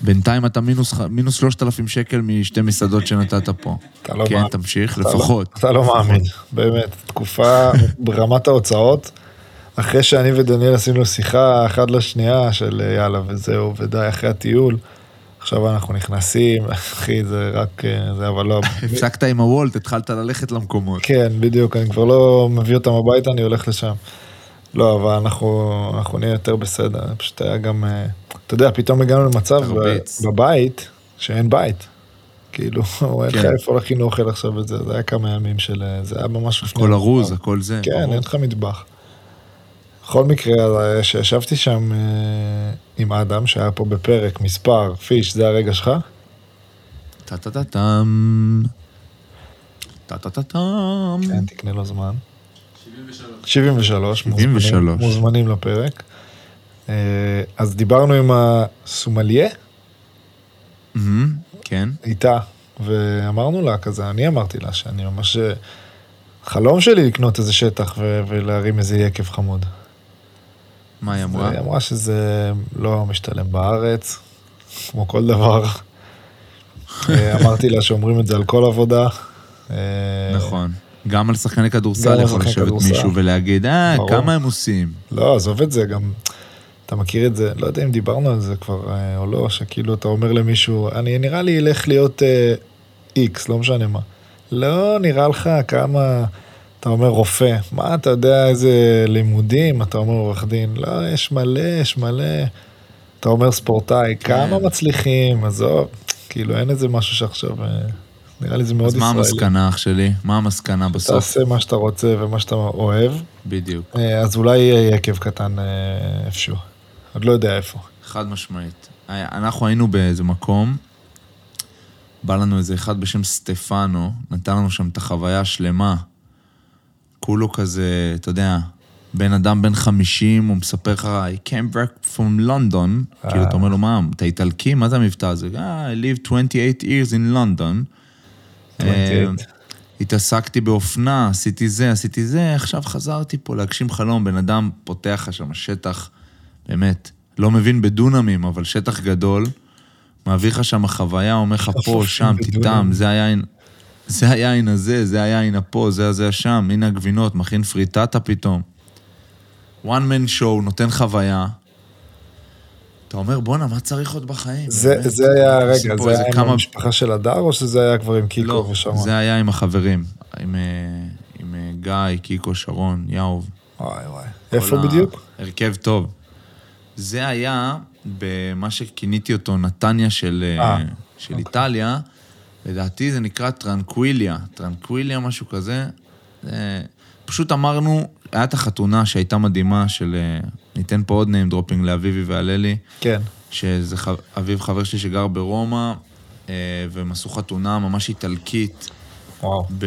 Speaker 2: בינתיים אתה מינוס, ח- מינוס 3,000 שקל משתי מסעדות שנתת פה.
Speaker 3: אתה לא
Speaker 2: כן,
Speaker 3: מאמין.
Speaker 2: תמשיך,
Speaker 3: אתה לא-
Speaker 2: לפחות.
Speaker 3: אתה לא מאמין, באמת. תקופה ברמת ההוצאות, אחרי שאני ודניאל עשינו שיחה אחת לשנייה של אה, יאללה וזהו ודי, אחרי הטיול. עכשיו אנחנו נכנסים, אחי, זה רק, אה, זה אבל לא...
Speaker 2: הפסקת עם הוולט, התחלת ללכת למקומות.
Speaker 3: כן, בדיוק, אני כבר לא מביא אותם הביתה, אני הולך לשם. לא, אבל אנחנו, אנחנו נהיה יותר בסדר, פשוט היה גם, אה, אתה יודע, פתאום הגענו למצב
Speaker 2: תרביץ.
Speaker 3: ב- בבית, שאין בית. כאילו, אין לך
Speaker 2: כן.
Speaker 3: איפה להכין אוכל עכשיו את זה, זה היה כמה ימים של, אה, זה היה ממש לפני...
Speaker 2: הכל
Speaker 3: המלחמה.
Speaker 2: ארוז, הכל זה.
Speaker 3: כן,
Speaker 2: ברור.
Speaker 3: אין לך מטבח. בכל מקרה, אה, כשישבתי שם אה, עם אדם, שהיה פה בפרק, מספר, פיש, זה הרגע שלך?
Speaker 2: טה-טה-טה-טם. טה-טה-טה-טם.
Speaker 3: כן, תקנה לו זמן. 73. 73,
Speaker 2: 73.
Speaker 3: מוזמנים, מוזמנים לפרק. אה, אז דיברנו עם הסומליה,
Speaker 2: מהמם, כן.
Speaker 3: איתה, ואמרנו לה כזה, אני אמרתי לה שאני ממש... אה, חלום שלי לקנות איזה שטח ו- ולהרים איזה יקב חמוד.
Speaker 2: מה היא אמרה?
Speaker 3: היא אמרה שזה לא משתלם בארץ, כמו כל דבר. אה, אמרתי לה שאומרים את זה על כל עבודה. אה,
Speaker 2: נכון. גם על שחקני
Speaker 3: גם
Speaker 2: כדורסל
Speaker 3: על
Speaker 2: יכול
Speaker 3: שחקני
Speaker 2: לשבת
Speaker 3: כדורסל.
Speaker 2: מישהו ולהגיד, אה,
Speaker 3: ברור.
Speaker 2: כמה הם עושים.
Speaker 3: לא, עזוב את זה, גם... אתה מכיר את זה, לא יודע אם דיברנו על זה כבר אה, או לא, שכאילו אתה אומר למישהו, אני נראה לי אלך להיות אה, איקס, לא משנה מה. לא, נראה לך כמה... אתה אומר רופא, מה אתה יודע איזה לימודים, אתה אומר עורך דין, לא, יש מלא, יש מלא. אתה אומר ספורטאי,
Speaker 2: כן.
Speaker 3: כמה מצליחים, עזוב, כאילו אין איזה משהו שעכשיו, אה, נראה לי זה מאוד
Speaker 2: אז מה
Speaker 3: ישראלי.
Speaker 2: המסקנה, אח שלי? מה המסקנה בסוף?
Speaker 3: תעשה מה שאתה רוצה ומה שאתה אוהב,
Speaker 2: בדיוק.
Speaker 3: אה, אז אולי יהיה יקב קטן אה, איפשהו. עוד לא יודע איפה.
Speaker 2: חד משמעית. היה- אנחנו היינו באיזה מקום, בא לנו איזה אחד בשם סטפנו, נתן לנו שם את החוויה השלמה. כולו כזה, אתה יודע, בן אדם בן 50, הוא מספר לך, I came back from London, כאילו, אתה אומר לו, מה, אתה איטלקי? מה זה המבטא הזה? "Ah, I lived 28 years in London.
Speaker 3: 28.
Speaker 2: אה, התעסקתי באופנה, עשיתי זה, עשיתי זה, עכשיו חזרתי פה להגשים חלום. בן אדם פותח לך שם שטח, באמת, לא מבין בדונמים, אבל שטח גדול, מעביר לך שם חוויה, אומר לך פה,
Speaker 3: חופשי
Speaker 2: שם, תטעם,
Speaker 3: בדונם.
Speaker 2: זה היין, זה היין הזה, זה היין הפה, זה הזה שם, הנה הגבינות, מכין פריטטה פתאום. one man show, נותן חוויה. אתה אומר, בואנה, מה צריך עוד בחיים?
Speaker 3: זה
Speaker 2: באמת,
Speaker 3: זה היה
Speaker 2: אנחנו עושים
Speaker 3: הרגע,
Speaker 2: פה
Speaker 3: זה
Speaker 2: איזה
Speaker 3: היה עם
Speaker 2: כמה-
Speaker 3: המשפחה של הדר, או שזה היה כבר עם
Speaker 2: לא,
Speaker 3: קיקו ושרון?
Speaker 2: זה היה עם החברים, עם, אה, עם אה, גיא, קיקו, שרון, יאוב.
Speaker 3: וואי וואי. איפה
Speaker 2: כל ה-
Speaker 3: בדיוק?
Speaker 2: הרכב טוב. זה היה במה שכיניתי אותו נתניה של, אה,
Speaker 3: אה,
Speaker 2: של איטליה. לדעתי זה נקרא טרנקוויליה, טרנקוויליה, משהו כזה. זה- פשוט אמרנו, היה את החתונה שהייתה מדהימה של... אה, ניתן פה עוד name dropping לאביבי והללי.
Speaker 3: כן.
Speaker 2: שזה ח... אביב חבר שלי שגר ברומא, אה, והם עשו חתונה ממש איטלקית
Speaker 3: וואו.
Speaker 2: ב...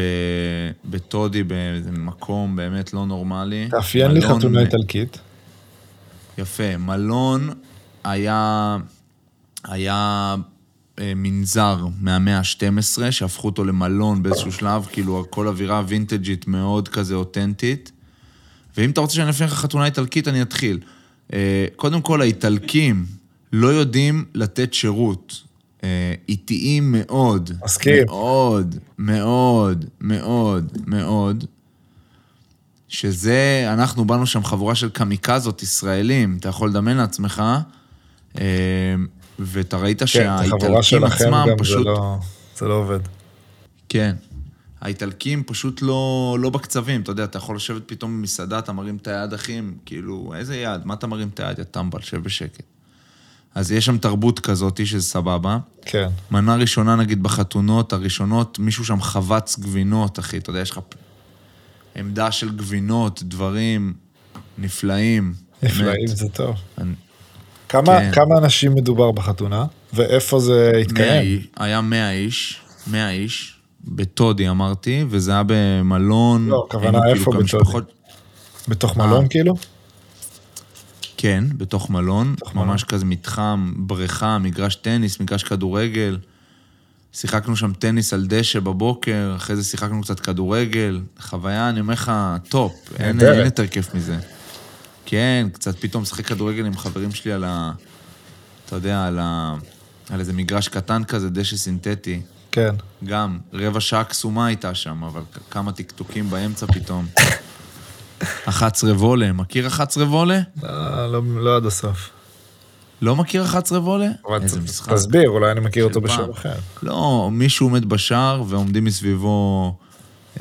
Speaker 2: בטודי, באיזה מקום באמת לא נורמלי.
Speaker 3: תאפיין לי
Speaker 2: מלון-
Speaker 3: חתונה איטלקית.
Speaker 2: יפה. מלון היה, היה אה, מנזר מהמאה ה-12, שהפכו אותו למלון באיזשהו שלב, כאילו הכל אווירה וינטג'ית מאוד כזה אותנטית. ואם אתה רוצה שאני אפעיל לך חתונה איטלקית, אני אתחיל. אה, קודם כל, האיטלקים לא יודעים לתת שירות. אה, איטיים מאוד.
Speaker 3: מסכים.
Speaker 2: מאוד, מאוד, מאוד, מאוד. שזה, אנחנו באנו שם חבורה של קמיקזות ישראלים, אתה יכול לדמיין לעצמך, אה, ואתה ראית
Speaker 3: כן, זה
Speaker 2: שהאיטלקים
Speaker 3: חבורה שלכם
Speaker 2: עצמם
Speaker 3: גם, זה
Speaker 2: פשוט...
Speaker 3: לא- זה לא עובד.
Speaker 2: כן. האיטלקים פשוט לא, לא בקצבים, אתה יודע, אתה יכול לשבת פתאום במסעדה, אתה מרים את היד, אחים, כאילו, איזה יד? מה אתה מרים את היד, יא טמבל, שב בשקט. אז יש שם תרבות כזאת, שזה סבבה.
Speaker 3: כן.
Speaker 2: מנה ראשונה, נגיד, בחתונות הראשונות, מישהו שם חבץ גבינות, אחי, אתה יודע, יש לך... פ- עמדה של גבינות, דברים נפלאים.
Speaker 3: נפלאים,
Speaker 2: באמת.
Speaker 3: זה טוב.
Speaker 2: אני-
Speaker 3: כמה,
Speaker 2: כן.
Speaker 3: כמה אנשים מדובר בחתונה, ואיפה זה
Speaker 2: מאה
Speaker 3: התקיים?
Speaker 2: אי- היה 100 איש, 100 איש, בטודי אמרתי, וזה היה במלון.
Speaker 3: לא, הכוונה
Speaker 2: היינו כאילו
Speaker 3: איפה
Speaker 2: כמה
Speaker 3: בטודי?
Speaker 2: משפחות-
Speaker 3: בתוך מלון
Speaker 2: אה.
Speaker 3: כאילו?
Speaker 2: כן, בתוך מלון,
Speaker 3: בתוך מלון.
Speaker 2: ממש כזה מתחם, בריכה, מגרש טניס, מגרש כדורגל. שיחקנו שם טניס על דשא בבוקר, אחרי זה שיחקנו קצת כדורגל. חוויה, אני אומר לך, טופ, אין
Speaker 3: נהדרת.
Speaker 2: אין יותר כיף מזה. כן, קצת פתאום משחק כדורגל עם חברים שלי על ה... אתה יודע, על ה... על איזה מגרש קטן כזה, דשא סינתטי.
Speaker 3: כן.
Speaker 2: גם, רבע שעה קסומה הייתה שם, אבל כ- כמה טקטוקים באמצע פתאום. 11 וולה, מכיר 11 וולה?
Speaker 3: אה, לא, לא עד הסוף.
Speaker 2: לא מכיר 11 וולה?
Speaker 3: אבל
Speaker 2: איזה
Speaker 3: ת-
Speaker 2: משחק.
Speaker 3: תסביר, אולי אני מכיר אותו
Speaker 2: של
Speaker 3: בשם
Speaker 2: פעם.
Speaker 3: אחר.
Speaker 2: לא, מישהו עומד בשער ועומדים מסביבו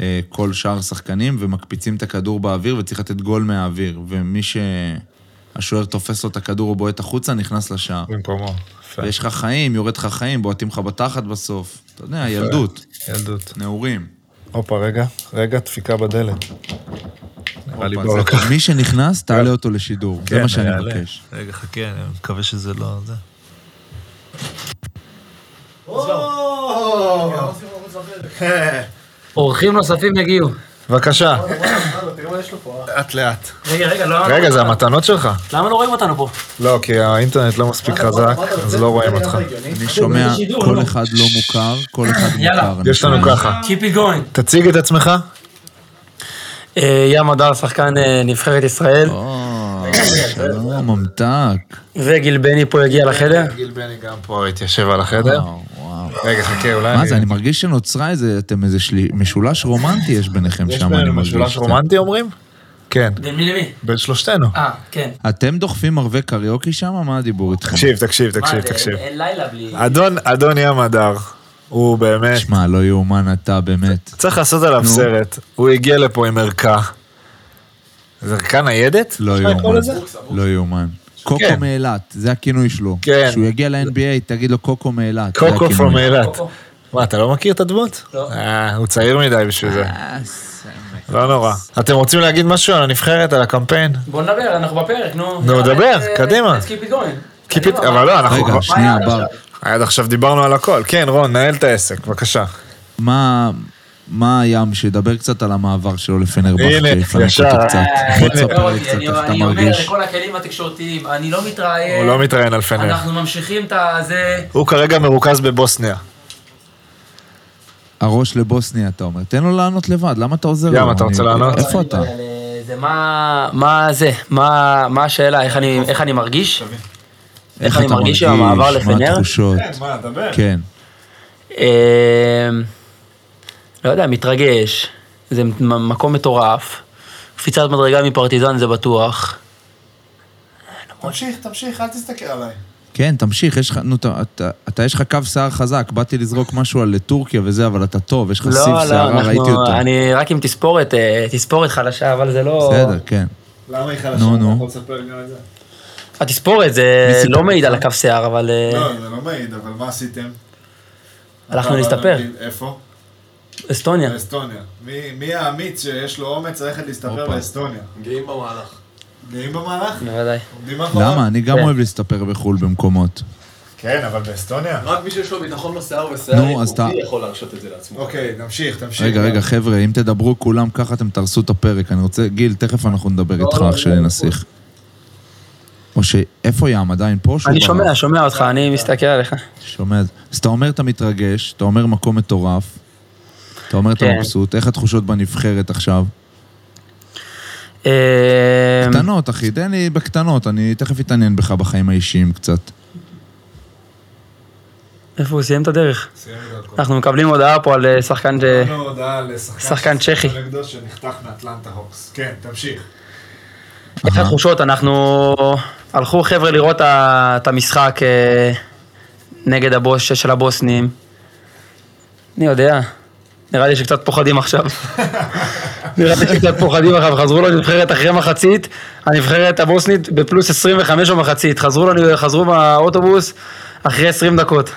Speaker 2: אה, כל שאר השחקנים ומקפיצים את הכדור באוויר וצריך לתת גול מהאוויר. ומי שהשוער תופס לו את הכדור או בועט החוצה, נכנס לשער.
Speaker 3: במקומו. יפה.
Speaker 2: ויש לך חיים, יורד לך חיים, בועטים לך בתחת בסוף. אתה יודע, ילדות,
Speaker 3: ילדות.
Speaker 2: נעורים.
Speaker 3: הופה, רגע, רגע, דפיקה בדלת. נראה לי
Speaker 2: הופה,
Speaker 3: כן, בואו
Speaker 2: זה-
Speaker 3: לקחת.
Speaker 2: מי שנכנס, תעלה אותו לשידור, זה מה שאני מבקש.
Speaker 3: רגע, חכה, אני מקווה שזה לא זה.
Speaker 1: אורחים נוספים יגיעו.
Speaker 3: בבקשה, לאט לאט.
Speaker 1: רגע, רגע, לא...
Speaker 3: רגע, זה המתנות שלך.
Speaker 1: למה לא רואים אותנו פה?
Speaker 3: לא, כי האינטרנט לא מספיק חזק, אז לא רואים אותך.
Speaker 2: אני שומע,
Speaker 1: שידור,
Speaker 2: כל
Speaker 1: לא.
Speaker 2: אחד לא מוכר, כל אחד
Speaker 1: יאללה.
Speaker 2: מוכר. אני
Speaker 3: יש לנו ככה.
Speaker 1: Keep it going.
Speaker 3: תציג את עצמך.
Speaker 4: ים הדר, שחקן אה, נבחרת ישראל,
Speaker 2: או, שלום, "אה, ממתק.
Speaker 4: וגיל בני פה הגיע לחדר.
Speaker 3: גיל בני גם פה התיישב על החדר.
Speaker 2: וואו, וואו.
Speaker 3: רגע, חכה, אולי...
Speaker 2: מה זה, אני מרגיש שנוצרה איזה, אתם איזה שלי, משולש רומנטי יש ביניכם
Speaker 3: יש
Speaker 2: שם, אני
Speaker 3: בינינו
Speaker 2: מרגיש.
Speaker 3: משולש
Speaker 2: קצת.
Speaker 3: רומנטי אומרים? כן,
Speaker 1: בין מי למי?
Speaker 3: בין שלושתנו.
Speaker 1: אה, כן.
Speaker 2: אתם דוחפים ערבי קריוקי שם? מה הדיבור איתכם?
Speaker 3: תקשיב, תקשיב, תקשיב,
Speaker 1: מה, זה-
Speaker 3: תקשיב.
Speaker 4: אה,
Speaker 1: אין לילה בלי...
Speaker 3: אדון, אדון ים הדר, הוא באמת...
Speaker 2: שמע, לא יאומן אתה, באמת.
Speaker 3: צריך לעשות עליו סרט. הוא הגיע לפה עם ערכה. זה ערכה ניידת?
Speaker 2: לא
Speaker 3: אפשר לקרוא
Speaker 2: יאומן.
Speaker 3: לזה?
Speaker 2: לא יאומן. קוקו
Speaker 3: כן.
Speaker 2: מאילת, זה הכינוי שלו.
Speaker 3: כן.
Speaker 2: כשהוא יגיע ל-NBA, תגיד לו קוקו מאילת.
Speaker 5: לא
Speaker 2: זה
Speaker 3: קוקו
Speaker 2: הכינוי.
Speaker 3: פרום אילת.
Speaker 1: קוקו.
Speaker 3: מה, אתה לא מכיר את הדמות?
Speaker 1: לא.
Speaker 3: אה, הוא צעיר מדי בשביל זה.
Speaker 2: אה, סמק.
Speaker 3: לא נורא. אתם רוצים להגיד משהו על הנבחרת, על הקמפיין?
Speaker 1: בוא נדבר, אנחנו בפרק, נו.
Speaker 3: נו, דבר, קדימה.
Speaker 1: Let's keep it going.
Speaker 3: כי פת- אבל לא, אנחנו...
Speaker 2: רגע,
Speaker 3: כבר-
Speaker 2: שנייה,
Speaker 1: היה עד
Speaker 2: בר.
Speaker 3: עד עכשיו דיברנו על הכל. כן, רון, נהל את העסק, בבקשה.
Speaker 2: מה... מה הים, שידבר קצת על המעבר שלו לפנרבכצ'ה,
Speaker 3: הנה,
Speaker 2: יפנק
Speaker 3: ישר.
Speaker 2: אותו קצת. בוא
Speaker 1: אה,
Speaker 2: תספר לי
Speaker 1: מאוד,
Speaker 2: קצת
Speaker 1: אני-
Speaker 2: איך אתה
Speaker 1: אני אומר
Speaker 2: מרגיש.
Speaker 1: לכל הכלים התקשורתיים, אני לא
Speaker 4: אה,
Speaker 1: מתראיין.
Speaker 3: הוא לא מתראיין על פנר.
Speaker 1: אנחנו ממשיכים את הזה.
Speaker 3: הוא כרגע מרוכז בבוסניה.
Speaker 2: הראש לבוסניה, אתה אומר. תן לו לענות לבד, למה אתה עוזר לו?
Speaker 3: ים, אתה
Speaker 2: אני-
Speaker 3: רוצה לענות?
Speaker 2: איפה אתה?
Speaker 1: אבל, אה,
Speaker 4: זה מה, מה זה, מה, מה השאלה, איך אני, איך אני מרגיש?
Speaker 2: איך
Speaker 4: אני
Speaker 2: אתה
Speaker 4: מרגיש
Speaker 2: מרגיש?
Speaker 4: עם המעבר
Speaker 2: מה
Speaker 4: לפנר?
Speaker 2: התחושות?
Speaker 3: מה, דבר.
Speaker 2: כן.
Speaker 4: אה, לא יודע, מתרגש, זה מ- מקום מטורף, קפיצת מדרגה מפרטיזן זה בטוח.
Speaker 5: תמשיך, תמשיך, אל תסתכל עליי.
Speaker 2: כן, תמשיך, יש לך, נו, אתה- אתה- אתה, יש לך קו שיער חזק, באתי לזרוק משהו על טורקיה וזה, אבל אתה טוב, יש לך
Speaker 4: לא,
Speaker 2: סיב
Speaker 4: לא,
Speaker 2: שערה, ראיתי
Speaker 4: אנחנו,
Speaker 2: אותו.
Speaker 4: אני רק עם תספורת, אה, תספורת חלשה, אבל זה לא...
Speaker 2: בסדר, כן.
Speaker 5: למה היא חלשה?
Speaker 2: נו, נו.
Speaker 5: אתה יכול לספר גם את זה?
Speaker 4: התספורת זה
Speaker 2: מי סיפר
Speaker 4: לא מעיד
Speaker 2: לך?
Speaker 4: על הקו שיער, אבל אה,
Speaker 5: לא, זה לא מעיד, אבל מה עשיתם?
Speaker 4: הלכנו
Speaker 5: אתה
Speaker 4: להסתפר, כן.
Speaker 5: בא להגיד, איפה?
Speaker 4: אסטוניה.
Speaker 5: באסטוניה. מי- מי האמיץ שיש לו אומץ ללכת להסתפר
Speaker 2: הופה.
Speaker 5: באסטוניה? גאים במהלך. גאים במהלך?
Speaker 4: בוודאי.
Speaker 5: עומדים מאחוריו?
Speaker 2: למה? אני גם
Speaker 4: כן.
Speaker 2: אוהב להסתפר בחו"ל במקומות.
Speaker 3: כן, אבל באסטוניה.
Speaker 6: רק מי שיש לו ביטחון בשיער ושיער
Speaker 2: נו, אז אתה-
Speaker 6: איכותי יכול להרשות את זה לעצמו.
Speaker 5: אוקיי, תמשיך, תמשיך.
Speaker 2: רגע, רגע, חבר'ה, אם תדברו כולם ככה, אתם תהרסו את הפרק. אני רוצה, גיל, תכף אנחנו נדבר איתך, אח שלי נסיך. או ש... איפה ים? עדיין פה? או שהוא
Speaker 4: אני
Speaker 2: ברח?
Speaker 4: שומע, שומע אותך, אני מסתכל עליך.
Speaker 2: שומע? אז אתה אומר אתה מתרגש, אתה אומר מקום מטורף, אתה אומר אתה
Speaker 4: כן.
Speaker 2: מבסוט, איך התחושות בנבחרת עכשיו?
Speaker 4: אה,
Speaker 2: קטנות, אחי, תן לי בקטנות, אני תכף אתעניין בך בחיים האישיים קצת.
Speaker 4: איפה הוא סיים את הדרך?
Speaker 5: סיים את הכל.
Speaker 4: אנחנו מקבלים הודעה פה על אה, שחקן ש...
Speaker 5: קיבלנו הודעה לשחקן
Speaker 4: שחקן
Speaker 5: ששיחק
Speaker 4: צ'כי.
Speaker 5: נגדו שנחתך מאטלנטה הוקס. כן, תמשיך.
Speaker 4: איך התחושות? אנחנו... הלכו חבר'ה לראות ה- את המשחק אה, נגד הבוס של הבוסנים. אני יודע. נראה לי שקצת פוחדים עכשיו. נראה לי שקצת פוחדים עכשיו. חזרו לנבחרת אחרי מחצית, הנבחרת הבוסנית בפלוס 25 במחצית. חזרו לנו, חזרו מהאוטובוס אחרי 20 דקות.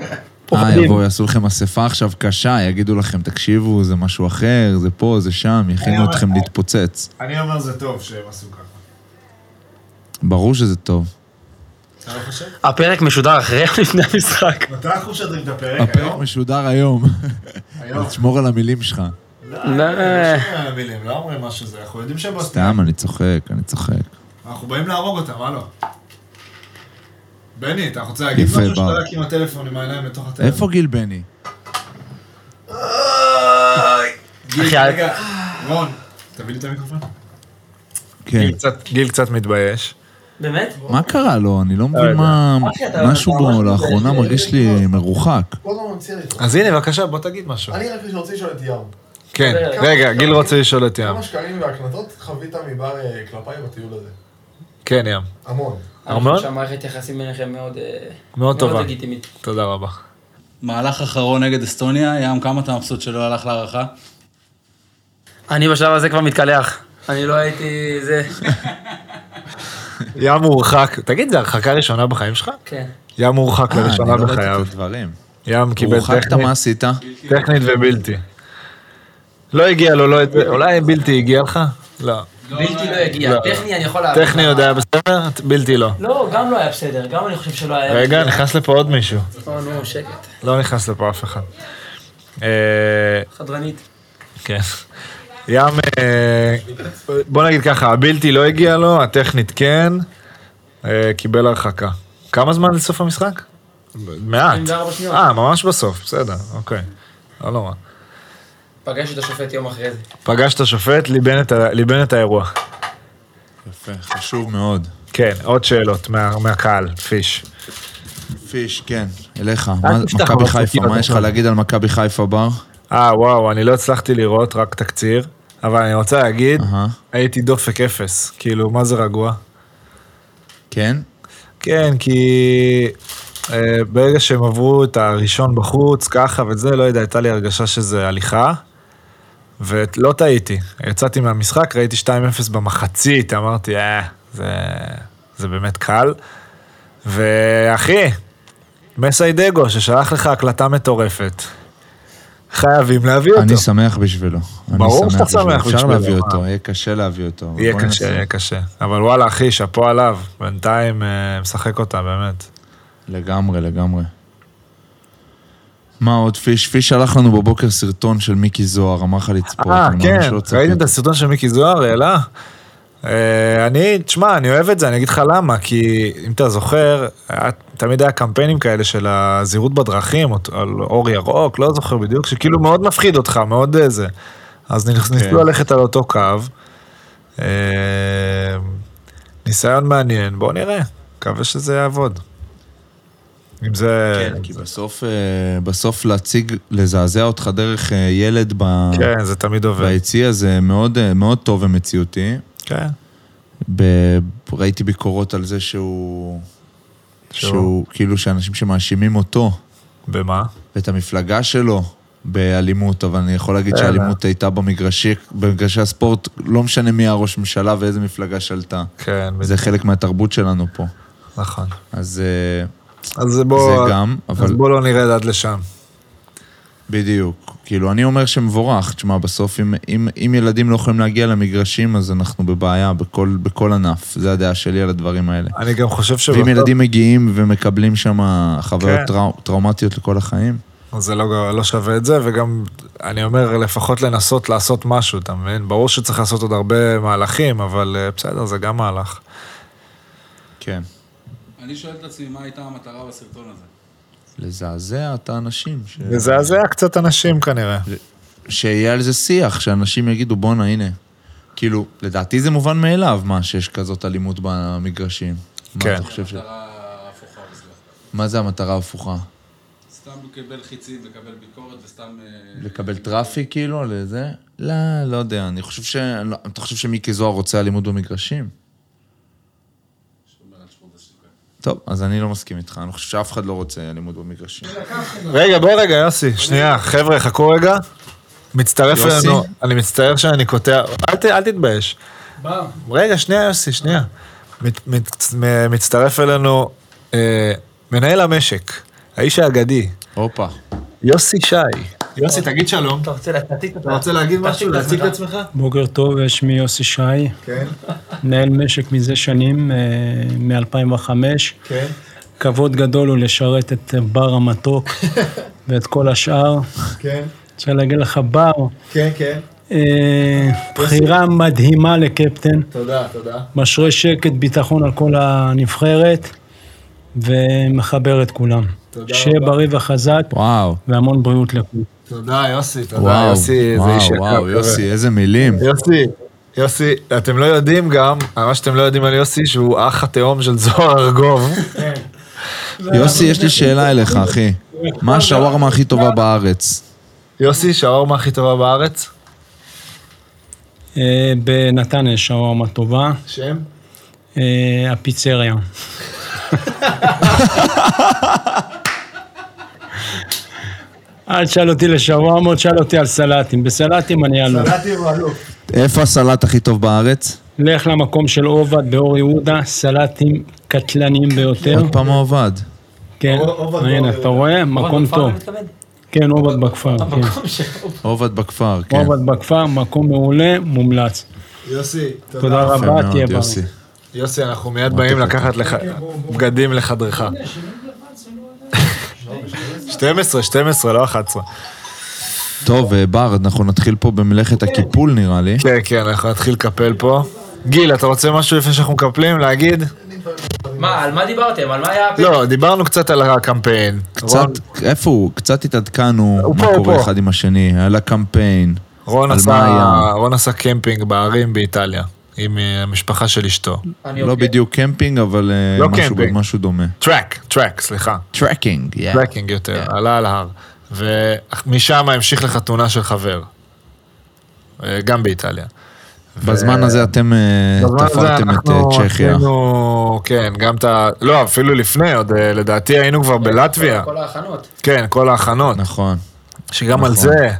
Speaker 2: אה,
Speaker 4: פוחדים.
Speaker 2: יבואו, יעשו לכם אספה עכשיו קשה, יגידו לכם, תקשיבו, זה משהו אחר, זה פה, זה שם,
Speaker 1: אה,
Speaker 2: יכינו אתכם להתפוצץ.
Speaker 5: אני אומר זה טוב שהם עשו ככה.
Speaker 2: ברור שזה טוב.
Speaker 5: אתה לא חושב?
Speaker 4: הפרק משודר אחרי או לפני המשחק.
Speaker 5: מתי אנחנו משדרים את
Speaker 1: אה,
Speaker 5: הפרק
Speaker 2: הפרק
Speaker 5: היום?
Speaker 2: משודר היום,
Speaker 5: היום.
Speaker 2: אז תשמור על המילים שלך.
Speaker 5: לא,
Speaker 4: לא.
Speaker 5: יש לנו מילים, לא אומרים מה שזה, אנחנו יודעים שהם עושים.
Speaker 2: סתם, אני צוחק, אני צוחק.
Speaker 5: אנחנו באים להרוג אותם, מה לא? בני, אתה רוצה להגיד
Speaker 2: יפה,
Speaker 5: משהו שאתה
Speaker 2: בר.
Speaker 5: רק עם הטלפון, עם העיניים בתוך
Speaker 1: אה.
Speaker 5: הטלפון?
Speaker 2: איפה גיל בני?
Speaker 4: אחי,
Speaker 5: רגע, רון, תביא לי את המיקרופון.
Speaker 2: כן.
Speaker 3: גיל קצת- גיל קצת מתבייש.
Speaker 1: באמת?
Speaker 2: מה קרה לו? אני לא מבין מה...
Speaker 1: אה, אחי, אתה-
Speaker 2: משהו
Speaker 1: אתה ממש לא אה.
Speaker 2: בו
Speaker 1: מתבייש.
Speaker 2: לאחרונה מרגיש לי מרוחק.
Speaker 6: כל הזמן ממציא לי אותו.
Speaker 3: אז הנה, בבקשה, בוא תגיד משהו.
Speaker 6: אני רק רוצה לשאול את ים.
Speaker 3: כן, רגע, גיל רוצה לשאול את ים.
Speaker 6: כמה שקרים והקלטות חווית מבר אה, כלפיי בטיול הזה?
Speaker 3: כן, ים.
Speaker 6: המון.
Speaker 3: ארמון?
Speaker 4: שהמערכת יחסים ביניכם מאוד... אה,
Speaker 3: מאוד טובה.
Speaker 4: לגיטימית.
Speaker 3: תודה רבה.
Speaker 7: מהלך אחרון נגד אסטוניה, ים, כמה אתה מבסוט שלא הלך להערכה?
Speaker 4: אני בשלב הזה כבר מתקלח. אני לא הייתי... זה...
Speaker 3: ים הורחק. תגיד, זה הרחקה ראשונה בחיים שלך?
Speaker 4: כן.
Speaker 3: ים הורחק
Speaker 2: אה, אני
Speaker 3: לראשונה
Speaker 2: לא
Speaker 3: בחייו.
Speaker 2: ראיתי את הדברים.
Speaker 3: ים קיבל
Speaker 2: רוחקת,
Speaker 3: טכנית,
Speaker 2: מה עשית?
Speaker 3: טכנית ובלתי. לא הגיע לו, לא... את- אולי בלתי הגיע לך? לא.
Speaker 1: בלתי לא יגיע.
Speaker 3: לא.
Speaker 1: טכני אני יכול להבין.
Speaker 3: טכני עוד היה בסדר? בלתי לא.
Speaker 1: לא, גם לא היה בסדר, גם אני חושב שלא היה...
Speaker 3: רגע, נכנס לפה עוד מישהו.
Speaker 4: או, אה, נו, שקט.
Speaker 3: לא נכנס לפה אף אחד. אה,
Speaker 4: חדרנית.
Speaker 3: כן. ים, אה, בוא נגיד ככה, הבלתי לא הגיע לו, הטכנית כן, אה, קיבל הרחקה. כמה זמן לסוף המשחק? מעט.
Speaker 4: 24 שניות.
Speaker 3: אה, ממש בסוף, בסדר, אוקיי. לא נורא.
Speaker 4: פגש את השופט יום אחרי זה.
Speaker 3: פגש את השופט, ליבן את, ה- ליבן את האירוע.
Speaker 2: יפה, חשוב מאוד.
Speaker 3: כן, עוד שאלות מה, מהקהל, פיש.
Speaker 2: פיש, כן, אליך. מה-
Speaker 3: תפתח,
Speaker 2: מכבי
Speaker 3: אבל
Speaker 2: חיפה,
Speaker 3: תפתח.
Speaker 2: מה יש לך להגיד על מכבי חיפה בר?
Speaker 3: אה, וואו, אני לא הצלחתי לראות, רק תקציר, אבל אני רוצה להגיד,
Speaker 1: אה?
Speaker 2: אהה.
Speaker 3: הייתי דופק אפס, כאילו, מה זה רגוע?
Speaker 2: כן?
Speaker 3: כן, כי אה, ברגע שהם עברו את הראשון בחוץ, ככה וזה, לא יודע, הייתה לי הרגשה שזה הליכה. ולא טעיתי, יצאתי מהמשחק, ראיתי 2-0 במחצית, אמרתי, אה, זה, זה באמת קל. ואחי, מסיידגו, ששלח לך הקלטה מטורפת, חייבים להביא אותו.
Speaker 2: אני שמח בשבילו. אני
Speaker 3: ברור שאתה שמח
Speaker 2: אפשר
Speaker 3: בשבילו,
Speaker 2: להביא
Speaker 3: מה?
Speaker 2: אותו, יהיה קשה להביא אותו. אבל
Speaker 3: יהיה
Speaker 2: בוא
Speaker 3: קשה,
Speaker 2: ננסה.
Speaker 3: יהיה קשה. אבל וואלה, אחי, שאפו עליו, בינתיים אה, משחק אותה, באמת.
Speaker 2: לגמרי, לגמרי. מה עוד פיש? פיש שלח לנו בבוקר סרטון של מיקי זוהר, אמר לך לצפות.
Speaker 3: אה,
Speaker 2: אני ממש
Speaker 3: כן,
Speaker 2: לא צפיתי.
Speaker 3: ראיתם את הסרטון של מיקי זוהר, העלה? אה, אני, תשמע, אני אוהב את זה, אני אגיד לך למה, כי אם אתה זוכר, היה- תמיד היה קמפיינים כאלה של הזהירות בדרכים, או- על אור ירוק, לא זוכר בדיוק, שכאילו מאוד מפחיד אותך, מאוד אה, זה. אז ניס-
Speaker 2: כן.
Speaker 3: ניסו ללכת על אותו קו. אה, ניסיון מעניין, בואו נראה, מקווה שזה יעבוד. אם זה...
Speaker 2: כן, כי בסוף, אה, בסוף להציג, לזעזע אותך דרך אה, ילד ב...
Speaker 3: כן, זה תמיד עובד.
Speaker 2: ביציע זה מאוד, אה, מאוד טוב ומציאותי.
Speaker 3: כן.
Speaker 2: ב- ראיתי ביקורות על זה שהוא...
Speaker 3: שהוא?
Speaker 2: שהוא, שהוא כאילו שאנשים שמאשימים אותו
Speaker 3: במה?
Speaker 2: ואת המפלגה שלו באלימות, אבל אני יכול להגיד
Speaker 3: בסדר.
Speaker 2: שהאלימות הייתה במגרשי, במגרשי הספורט, לא משנה מי הראש ממשלה ואיזה מפלגה שלטה.
Speaker 3: כן,
Speaker 2: זה חלק מהתרבות שלנו פה.
Speaker 3: נכון.
Speaker 2: אז אה,
Speaker 3: אז בואו...
Speaker 2: זה גם,
Speaker 3: אז
Speaker 2: אבל
Speaker 3: בוא לא נרד עד לשם.
Speaker 2: בדיוק. כאילו, אני אומר שמבורך. תשמע, בסוף, אם, אם, אם ילדים לא יכולים להגיע למגרשים, אז אנחנו בבעיה בכל, בכל ענף. זו הדעה שלי על הדברים האלה.
Speaker 3: אני גם חושב שבסוף
Speaker 2: ואם ילדים מגיעים ומקבלים שם חוויות
Speaker 3: כן.
Speaker 2: טראו, טראומטיות לכל החיים,
Speaker 3: זה לא, לא שווה את זה, וגם אני אומר, לפחות לנסות לעשות משהו, אתה מבין? ברור שצריך לעשות עוד הרבה מהלכים, אבל אה, בסדר, זה גם מהלך.
Speaker 2: כן,
Speaker 7: אני שואל את עצמי, מה הייתה המטרה בסרטון הזה?
Speaker 2: לזעזע את האנשים. ש...
Speaker 3: מזעזע קצת אנשים כנראה.
Speaker 2: שיהיה על זה שיח, שאנשים יגידו, בואנה, הנה. כאילו, לדעתי זה מובן מאליו, מה, שיש כזאת אלימות במגרשים.
Speaker 3: כן.
Speaker 2: מה אתה חושב ש...
Speaker 7: מטרה הפוכה בזמן.
Speaker 2: מה זה המטרה ההפוכה?
Speaker 7: סתם הוא קיבל חיצים, לקבל ביקורת וסתם... אה,
Speaker 2: לקבל טראפיק, כאילו, לזה? לא, לא יודע. אני חושב ש... לא, אתה חושב שמיקי זוהר רוצה אלימות במגרשים?
Speaker 7: שומר על שפורט השתיקה.
Speaker 2: טוב, אז אני לא מסכים איתך. אני חושב שאף אחד לא רוצה אלימות במגרשים.
Speaker 3: רגע, בוא רגע, יוסי, שנייה, חבר'ה, חכו רגע. מצטרף
Speaker 2: יוסי?
Speaker 3: אלינו, אני מצטער שאני קוטע, אל, ת- אל תתבייש. רגע, שנייה, יוסי, שנייה. מת, מת, מצטרף אלינו אה, מנהל המשק, האיש האגדי,
Speaker 2: הופה.
Speaker 3: יוסי שי.
Speaker 5: יוסי, תגיד שלום.
Speaker 8: אתה רוצה להציג אותה?
Speaker 5: אתה רוצה להגיד משהו? להציג את עצמך?
Speaker 4: בוקר טוב, שמי יוסי שי,
Speaker 5: כן,
Speaker 4: מנהל משק מזה שנים, מ-2005.
Speaker 5: כן.
Speaker 4: כבוד גדול הוא לשרת את בר המתוק ואת כל השאר.
Speaker 5: כן,
Speaker 4: אפשר להגיד לך, בר,
Speaker 5: כן, כן.
Speaker 4: אה, בחירה מדהימה לקפטן,
Speaker 5: תודה, תודה.
Speaker 4: משרה שקט, ביטחון על כל הנבחרת, ומחבר את כולם.
Speaker 5: תודה
Speaker 4: שיהיה בריא וחזק,
Speaker 2: וואו,
Speaker 4: והמון בריאות לכולם.
Speaker 5: תודה, יוסי, תודה.
Speaker 2: וואו,
Speaker 3: יוסי, זה
Speaker 2: וואו,
Speaker 3: איש יקר,
Speaker 2: וואו,
Speaker 3: חבר'ה.
Speaker 2: יוסי, איזה מילים.
Speaker 3: יוסי, יוסי, אתם לא יודעים גם, מה שאתם לא יודעים על יוסי, שהוא אח התהום של זוהר ארגוב.
Speaker 2: יוסי, יש לי שאלה אליך, אחי. מה השווארמה הכי טובה בארץ?
Speaker 3: יוסי, שהאורמה הכי טובה בארץ?
Speaker 4: אה, בנתניה יש שווארמה טובה,
Speaker 5: שם?
Speaker 4: אה, הפיצריה. אל תשאל אותי לשווארמות, שאל אותי על סלטים. בסלטים אני אעלוב.
Speaker 5: נתתי לו עלוב.
Speaker 2: איפה הסלט הכי טוב בארץ?
Speaker 4: לך למקום של עובד באור יהודה, סלטים קטלניים ביותר.
Speaker 2: עוד פעם העובד.
Speaker 4: כן,
Speaker 5: עובד
Speaker 4: הנה,
Speaker 5: באור
Speaker 4: אתה רואה? מקום
Speaker 8: בכפר,
Speaker 4: טוב.
Speaker 8: אני מתכוון?
Speaker 4: כן, עובד בכפר. כן.
Speaker 8: המקום שלו.
Speaker 2: עובד בכפר, כן.
Speaker 4: עובד בכפר, מקום מעולה, מומלץ.
Speaker 5: יוסי,
Speaker 4: תודה
Speaker 2: יפה
Speaker 4: רבה,
Speaker 2: מאוד,
Speaker 4: תהיה
Speaker 3: כן,
Speaker 4: בריא.
Speaker 2: יוסי.
Speaker 3: יוסי, אנחנו מיד באים לקחת לך
Speaker 5: כן,
Speaker 3: בגדים לחדרך. 12, 12, לא 11.
Speaker 2: טוב, אה, בר, אנחנו נתחיל פה במלאכת הקיפול נראה לי.
Speaker 3: כן, כן, אנחנו נתחיל לקפל פה. גיל, אתה רוצה משהו לפני שאנחנו מקפלים, להגיד?
Speaker 8: מה, על מה דיברתם? על מה היה הפרק?
Speaker 3: לא, דיברנו קצת על הקמפיין.
Speaker 2: אוקיי. קצת, איפה הוא? קצת התעדכנו
Speaker 3: נכון. הוא
Speaker 2: מה
Speaker 3: פה, הוא
Speaker 2: קורה
Speaker 3: פה.
Speaker 2: אחד עם השני, על הקמפיין.
Speaker 3: רון
Speaker 2: על
Speaker 3: עשה,
Speaker 2: מה היה?
Speaker 3: רון עשה קמפינג בערים באיטליה, עם אה, המשפחה של אשתו.
Speaker 8: אני אוקיי.
Speaker 2: לא
Speaker 8: עוקב.
Speaker 2: בדיוק קמפינג, אבל אה,
Speaker 3: אוקיי. לא
Speaker 2: משהו-
Speaker 3: קמפינג.
Speaker 2: משהו דומה.
Speaker 3: טרק, טרק, סליחה.
Speaker 2: טרקינג, יא.
Speaker 3: טרקינג יותר, עלה על ההר. ומשם המשיך לחתונה של חבר. אה, גם באיטליה.
Speaker 2: בזמן הזה אתם אה,
Speaker 3: בזמן הזה
Speaker 2: תפרתם את
Speaker 3: אנחנו
Speaker 2: אה, צ'כיה.
Speaker 3: עשינו- כן, גם את ה... לא, אפילו לפני, עוד אה, לדעתי היינו כבר בלטביה.
Speaker 8: כל ההכנות.
Speaker 3: כן, כל ההכנות.
Speaker 2: נכון.
Speaker 3: שגם על זה...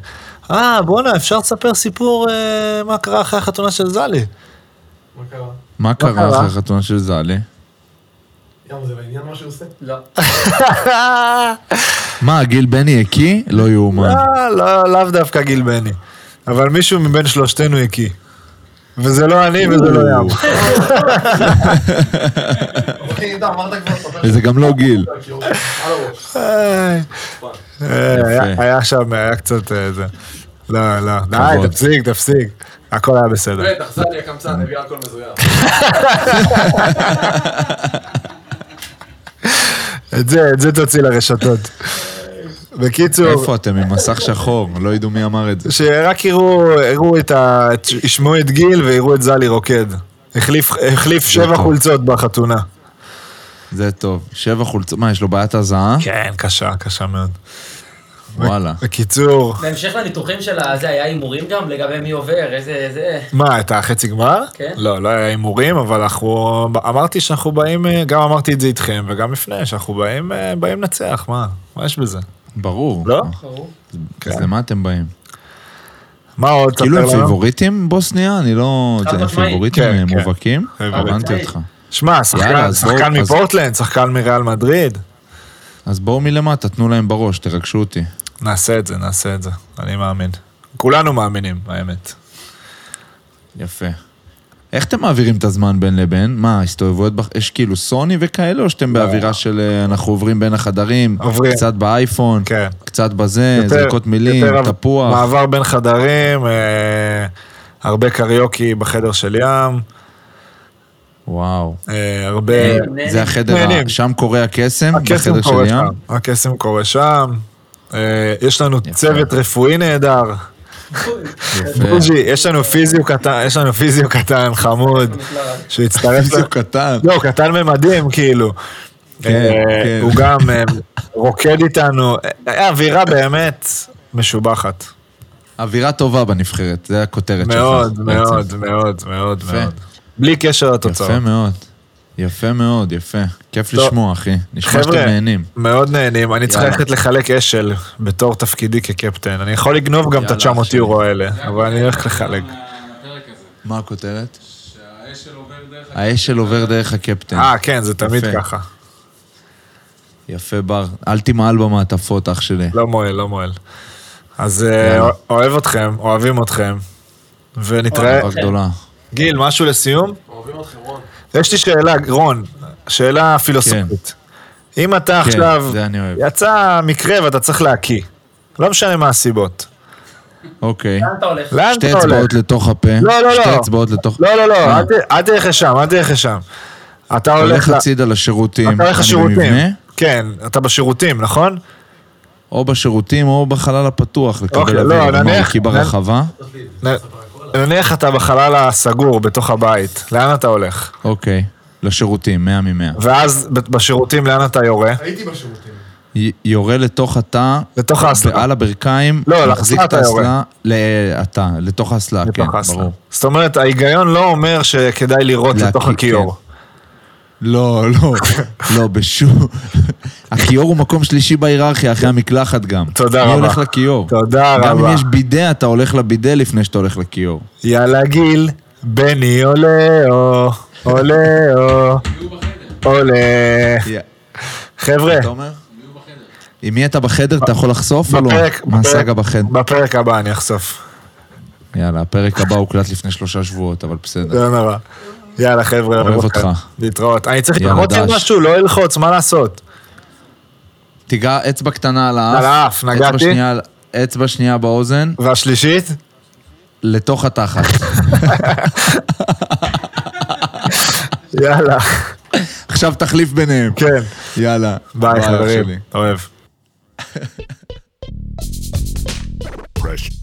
Speaker 3: אה, בואנה, אפשר לספר סיפור אה, מה קרה אחרי החתונה של זלי.
Speaker 7: מה קרה?
Speaker 2: מה קרה
Speaker 3: קרה?
Speaker 2: אחרי החתונה של זלי?
Speaker 7: ים, זה לעניין מה שהוא עושה?
Speaker 8: לא.
Speaker 2: מה, גיל בני הקיא? לא יאומן.
Speaker 3: אה, לא, לאו דווקא גיל בני. אבל מישהו מבין שלושתנו הקיא. וזה לא אני וזה לא ים.
Speaker 7: אחי, אתה אוקיי, אמרת כבר, ספר
Speaker 2: וזה גם לא גיל.
Speaker 7: על הקירות, על הראש.
Speaker 3: אה, אה, היה- היה שם, היה קצת אה, זה. לא, לא. די, תפסיק, תפסיק. הכל היה בסדר.
Speaker 7: בטח, זלי הקמצן, הביא הכל מזויף.
Speaker 3: את זה, את זה תוציא לרשתות. בקיצור,
Speaker 2: איפה אתם? עם מסך שחור, לא ידעו מי אמר את זה.
Speaker 3: שרק יראו, יראו את ה... ישמעו את גיל ויראו את זלי רוקד. החליף, החליף שבע
Speaker 2: טוב.
Speaker 3: חולצות בחתונה.
Speaker 2: זה טוב. שבע חולצות, מה, יש לו בעיית הזעה?
Speaker 3: כן, קשה, קשה מאוד. כן.
Speaker 2: וואלה.
Speaker 3: בקיצור,
Speaker 8: בהמשך לניתוחים של הזה, היה הימורים גם לגבי מי עובר, איזה... זה...
Speaker 3: מה, את החצי גמר?
Speaker 8: כן.
Speaker 3: לא, לא היה הימורים, אבל אנחנו... אמרתי שאנחנו באים, אה, גם אמרתי את זה איתכם, וגם לפני, שאנחנו באים אה, באים לנצח, מה? מה יש בזה?
Speaker 2: ברור. אוקיי,
Speaker 3: לא?
Speaker 2: אז למה אתם באים?
Speaker 3: מה עוד?
Speaker 2: כאילו הם
Speaker 3: ספר כן. לנו.
Speaker 2: פיבוריטים בוסניה? אני לא...
Speaker 8: חד
Speaker 2: זה, הם
Speaker 8: משמעית.
Speaker 2: פיבוריטים
Speaker 3: כן,
Speaker 2: אה,
Speaker 3: כן.
Speaker 2: מובהקים?
Speaker 3: פיבוריטים.
Speaker 2: הבנתי אותך.
Speaker 3: שמע,
Speaker 2: יאללה,
Speaker 3: שחקן,
Speaker 2: אז בואו-
Speaker 3: שחקן
Speaker 2: אז-
Speaker 3: מפורטלנד, שחקן מריאל מדריד.
Speaker 2: אז בואו מלמטה, תנו להם בראש, תרגשו אותי.
Speaker 3: נעשה את זה, נעשה את זה. אני מאמין. כולנו מאמינים, האמת.
Speaker 2: אה, יפה. איך אתם מעבירים את הזמן בין לבין? מה, הסתובבויות, בח- יש כאילו סוני וכאלה, או שאתם באווירה של אה, אנחנו עוברים בין החדרים?
Speaker 3: לא. עוברים.
Speaker 2: קצת באייפון,
Speaker 3: כן.
Speaker 2: קצת בזה, זריקות מילים,
Speaker 3: יותר
Speaker 2: תפוח.
Speaker 3: מעבר בין חדרים, אה, הרבה קריוקי בחדר של ים,
Speaker 2: וואו.
Speaker 3: אה, הרבה...
Speaker 2: זה החדר, ה-
Speaker 3: נהנים.
Speaker 2: שם קורה הקסם,
Speaker 3: הקסם
Speaker 2: בחדר אה? של
Speaker 3: קורה
Speaker 2: ים.
Speaker 3: שם. הקסם קורה שם. אה, יש לנו
Speaker 2: יפה.
Speaker 3: צוות רפואי נהדר.
Speaker 2: יפה.
Speaker 3: בוז'י, יש לנו פיזיו קטן, יש לנו פיזיו קטן, חמוד, שהצטרף...
Speaker 2: פיזיו קטן.
Speaker 3: לא, הוא קטן ממדים, כאילו.
Speaker 2: כן,
Speaker 3: אה,
Speaker 2: כן.
Speaker 3: הוא גם אה, רוקד איתנו. אה, האווירה באמת משובחת.
Speaker 2: אווירה טובה בנבחרת, זה הכותרת שלך.
Speaker 3: מאוד,
Speaker 2: בעצם.
Speaker 3: מאוד, מאוד, מאוד,
Speaker 2: יפה.
Speaker 3: מאוד. בלי קשר לתוצאות.
Speaker 2: יפה מאוד. יפה מאוד, יפה. כיף
Speaker 3: טוב.
Speaker 2: לשמוע, אחי. נשמע שאתם
Speaker 3: חבר'ה,
Speaker 2: נהנים.
Speaker 3: מאוד נהנים. אני צריך
Speaker 2: יאללה.
Speaker 3: ללכת לחלק אשל בתור תפקידי כקפטן. אני יכול לגנוב גם את
Speaker 2: יאללה,
Speaker 3: ה-900
Speaker 2: אחי.
Speaker 3: יורו האלה, אבל אני הולך לחלק.
Speaker 9: הפרק הזה,
Speaker 2: מה הכותרת?
Speaker 9: שהאשל עובר דרך...
Speaker 3: כן,
Speaker 2: האשל עובר דרך הקפטן.
Speaker 3: אה, כן, זה תמיד
Speaker 2: יפה.
Speaker 3: ככה.
Speaker 2: יפה בר, אל תמעל במעטפות, אח שלי.
Speaker 3: לא מועל, לא מועל. אז אה,
Speaker 2: יאללה.
Speaker 3: אוהב אתכם, אוהבים אתכם, ונתראה.
Speaker 2: אהבה גדולה.
Speaker 3: גיל, משהו לסיום?
Speaker 10: אוהבים אתכם, רון.
Speaker 3: יש לי שאלה, רון, שאלה פילוסופית. אם אתה
Speaker 2: כן,
Speaker 3: עכשיו,
Speaker 2: זה אני אוהב.
Speaker 3: יצא מקרה ואתה צריך להקיא, לא משנה מה הסיבות,
Speaker 2: אוקיי.
Speaker 4: לאן אתה הולך?
Speaker 3: לאן
Speaker 2: שתי
Speaker 3: אתה לא, הולך?
Speaker 2: אצבעות לתוך הפה.
Speaker 3: לא, לא,
Speaker 2: שתי
Speaker 3: לא.
Speaker 2: אצבעות לתוך...
Speaker 3: לא, לא, לא,
Speaker 2: מה?
Speaker 3: אל ת- אל תלך לשם, אל תלך לשם. אתה
Speaker 2: אתה
Speaker 3: הולך
Speaker 2: הולך
Speaker 3: ל-
Speaker 2: הצידה לשירותים.
Speaker 3: אתה הולך
Speaker 2: אני
Speaker 3: לשירותים.
Speaker 2: במבנה,
Speaker 3: כן, אתה בשירותים, נכון?
Speaker 2: או בשירותים או בחלל הפתוח,
Speaker 3: אוקיי,
Speaker 2: לקבל
Speaker 3: לא,
Speaker 2: אוויר. מה,
Speaker 3: נניח-
Speaker 2: כי ברחבה?
Speaker 3: נ- נניח אתה בחלל הסגור, בתוך הבית, לאן אתה הולך?
Speaker 2: אוקיי. לשירותים, 100 מ-100.
Speaker 3: ואז ב- בשירותים לאן אתה יורה?
Speaker 10: הייתי בשירותים.
Speaker 2: יורה לתוך התא,
Speaker 3: לתוך האסלה.
Speaker 2: על הברכיים,
Speaker 3: לא, לאסלה
Speaker 2: מחזיק את
Speaker 3: אתה יורה.
Speaker 2: האסלה, לתא, לתוך האסלה, כן,
Speaker 3: לתוך האסלה.
Speaker 2: ברור.
Speaker 3: זאת אומרת, ההיגיון לא אומר שכדאי לירות
Speaker 2: להקיא, כן.
Speaker 3: לתוך הכיור.
Speaker 2: לא, לא, לא, בשום... הכיור הוא מקום שלישי בהיררכיה, אחרי המקלחת גם.
Speaker 3: תודה
Speaker 2: מי
Speaker 3: רבה.
Speaker 2: הולך לכיור?
Speaker 3: תודה
Speaker 2: גם
Speaker 3: רבה.
Speaker 2: אם יש בידה, אתה הולך לבידה לפני שאתה הולך לכיור.
Speaker 3: יאללה גיל, בני עולה או, עולה או, עולה. חבר'ה,
Speaker 2: תומר? עם מי אתה בחדר, אתה יכול לחשוף או לא?
Speaker 3: בפרק,
Speaker 2: מה
Speaker 3: בפרק.
Speaker 2: הסאגה בחדר?
Speaker 3: בפרק הבא אני אחשוף.
Speaker 2: יאללה, הפרק הבא הוקלט לפני שלושה שבועות, אבל בסדר.
Speaker 3: לא נורא. יאללה חבר'ה,
Speaker 2: אוהב אותך.
Speaker 3: להתראות. אני צריך
Speaker 2: יאללה,
Speaker 3: ללחוץ על
Speaker 2: דש.
Speaker 3: משהו, לא ללחוץ, מה לעשות?
Speaker 2: תיגע אצבע קטנה על האף.
Speaker 3: על האף,
Speaker 2: אצבע
Speaker 3: נגעתי.
Speaker 2: שנייה על- אצבע שנייה באוזן,
Speaker 3: והשלישית?
Speaker 2: לתוך התחת.
Speaker 3: יאללה,
Speaker 2: עכשיו תחליף ביניהם.
Speaker 3: כן.
Speaker 2: יאללה.
Speaker 3: ביי
Speaker 2: אח
Speaker 3: חברים,
Speaker 2: שלי.
Speaker 3: אוהב.
Speaker 11: Fresh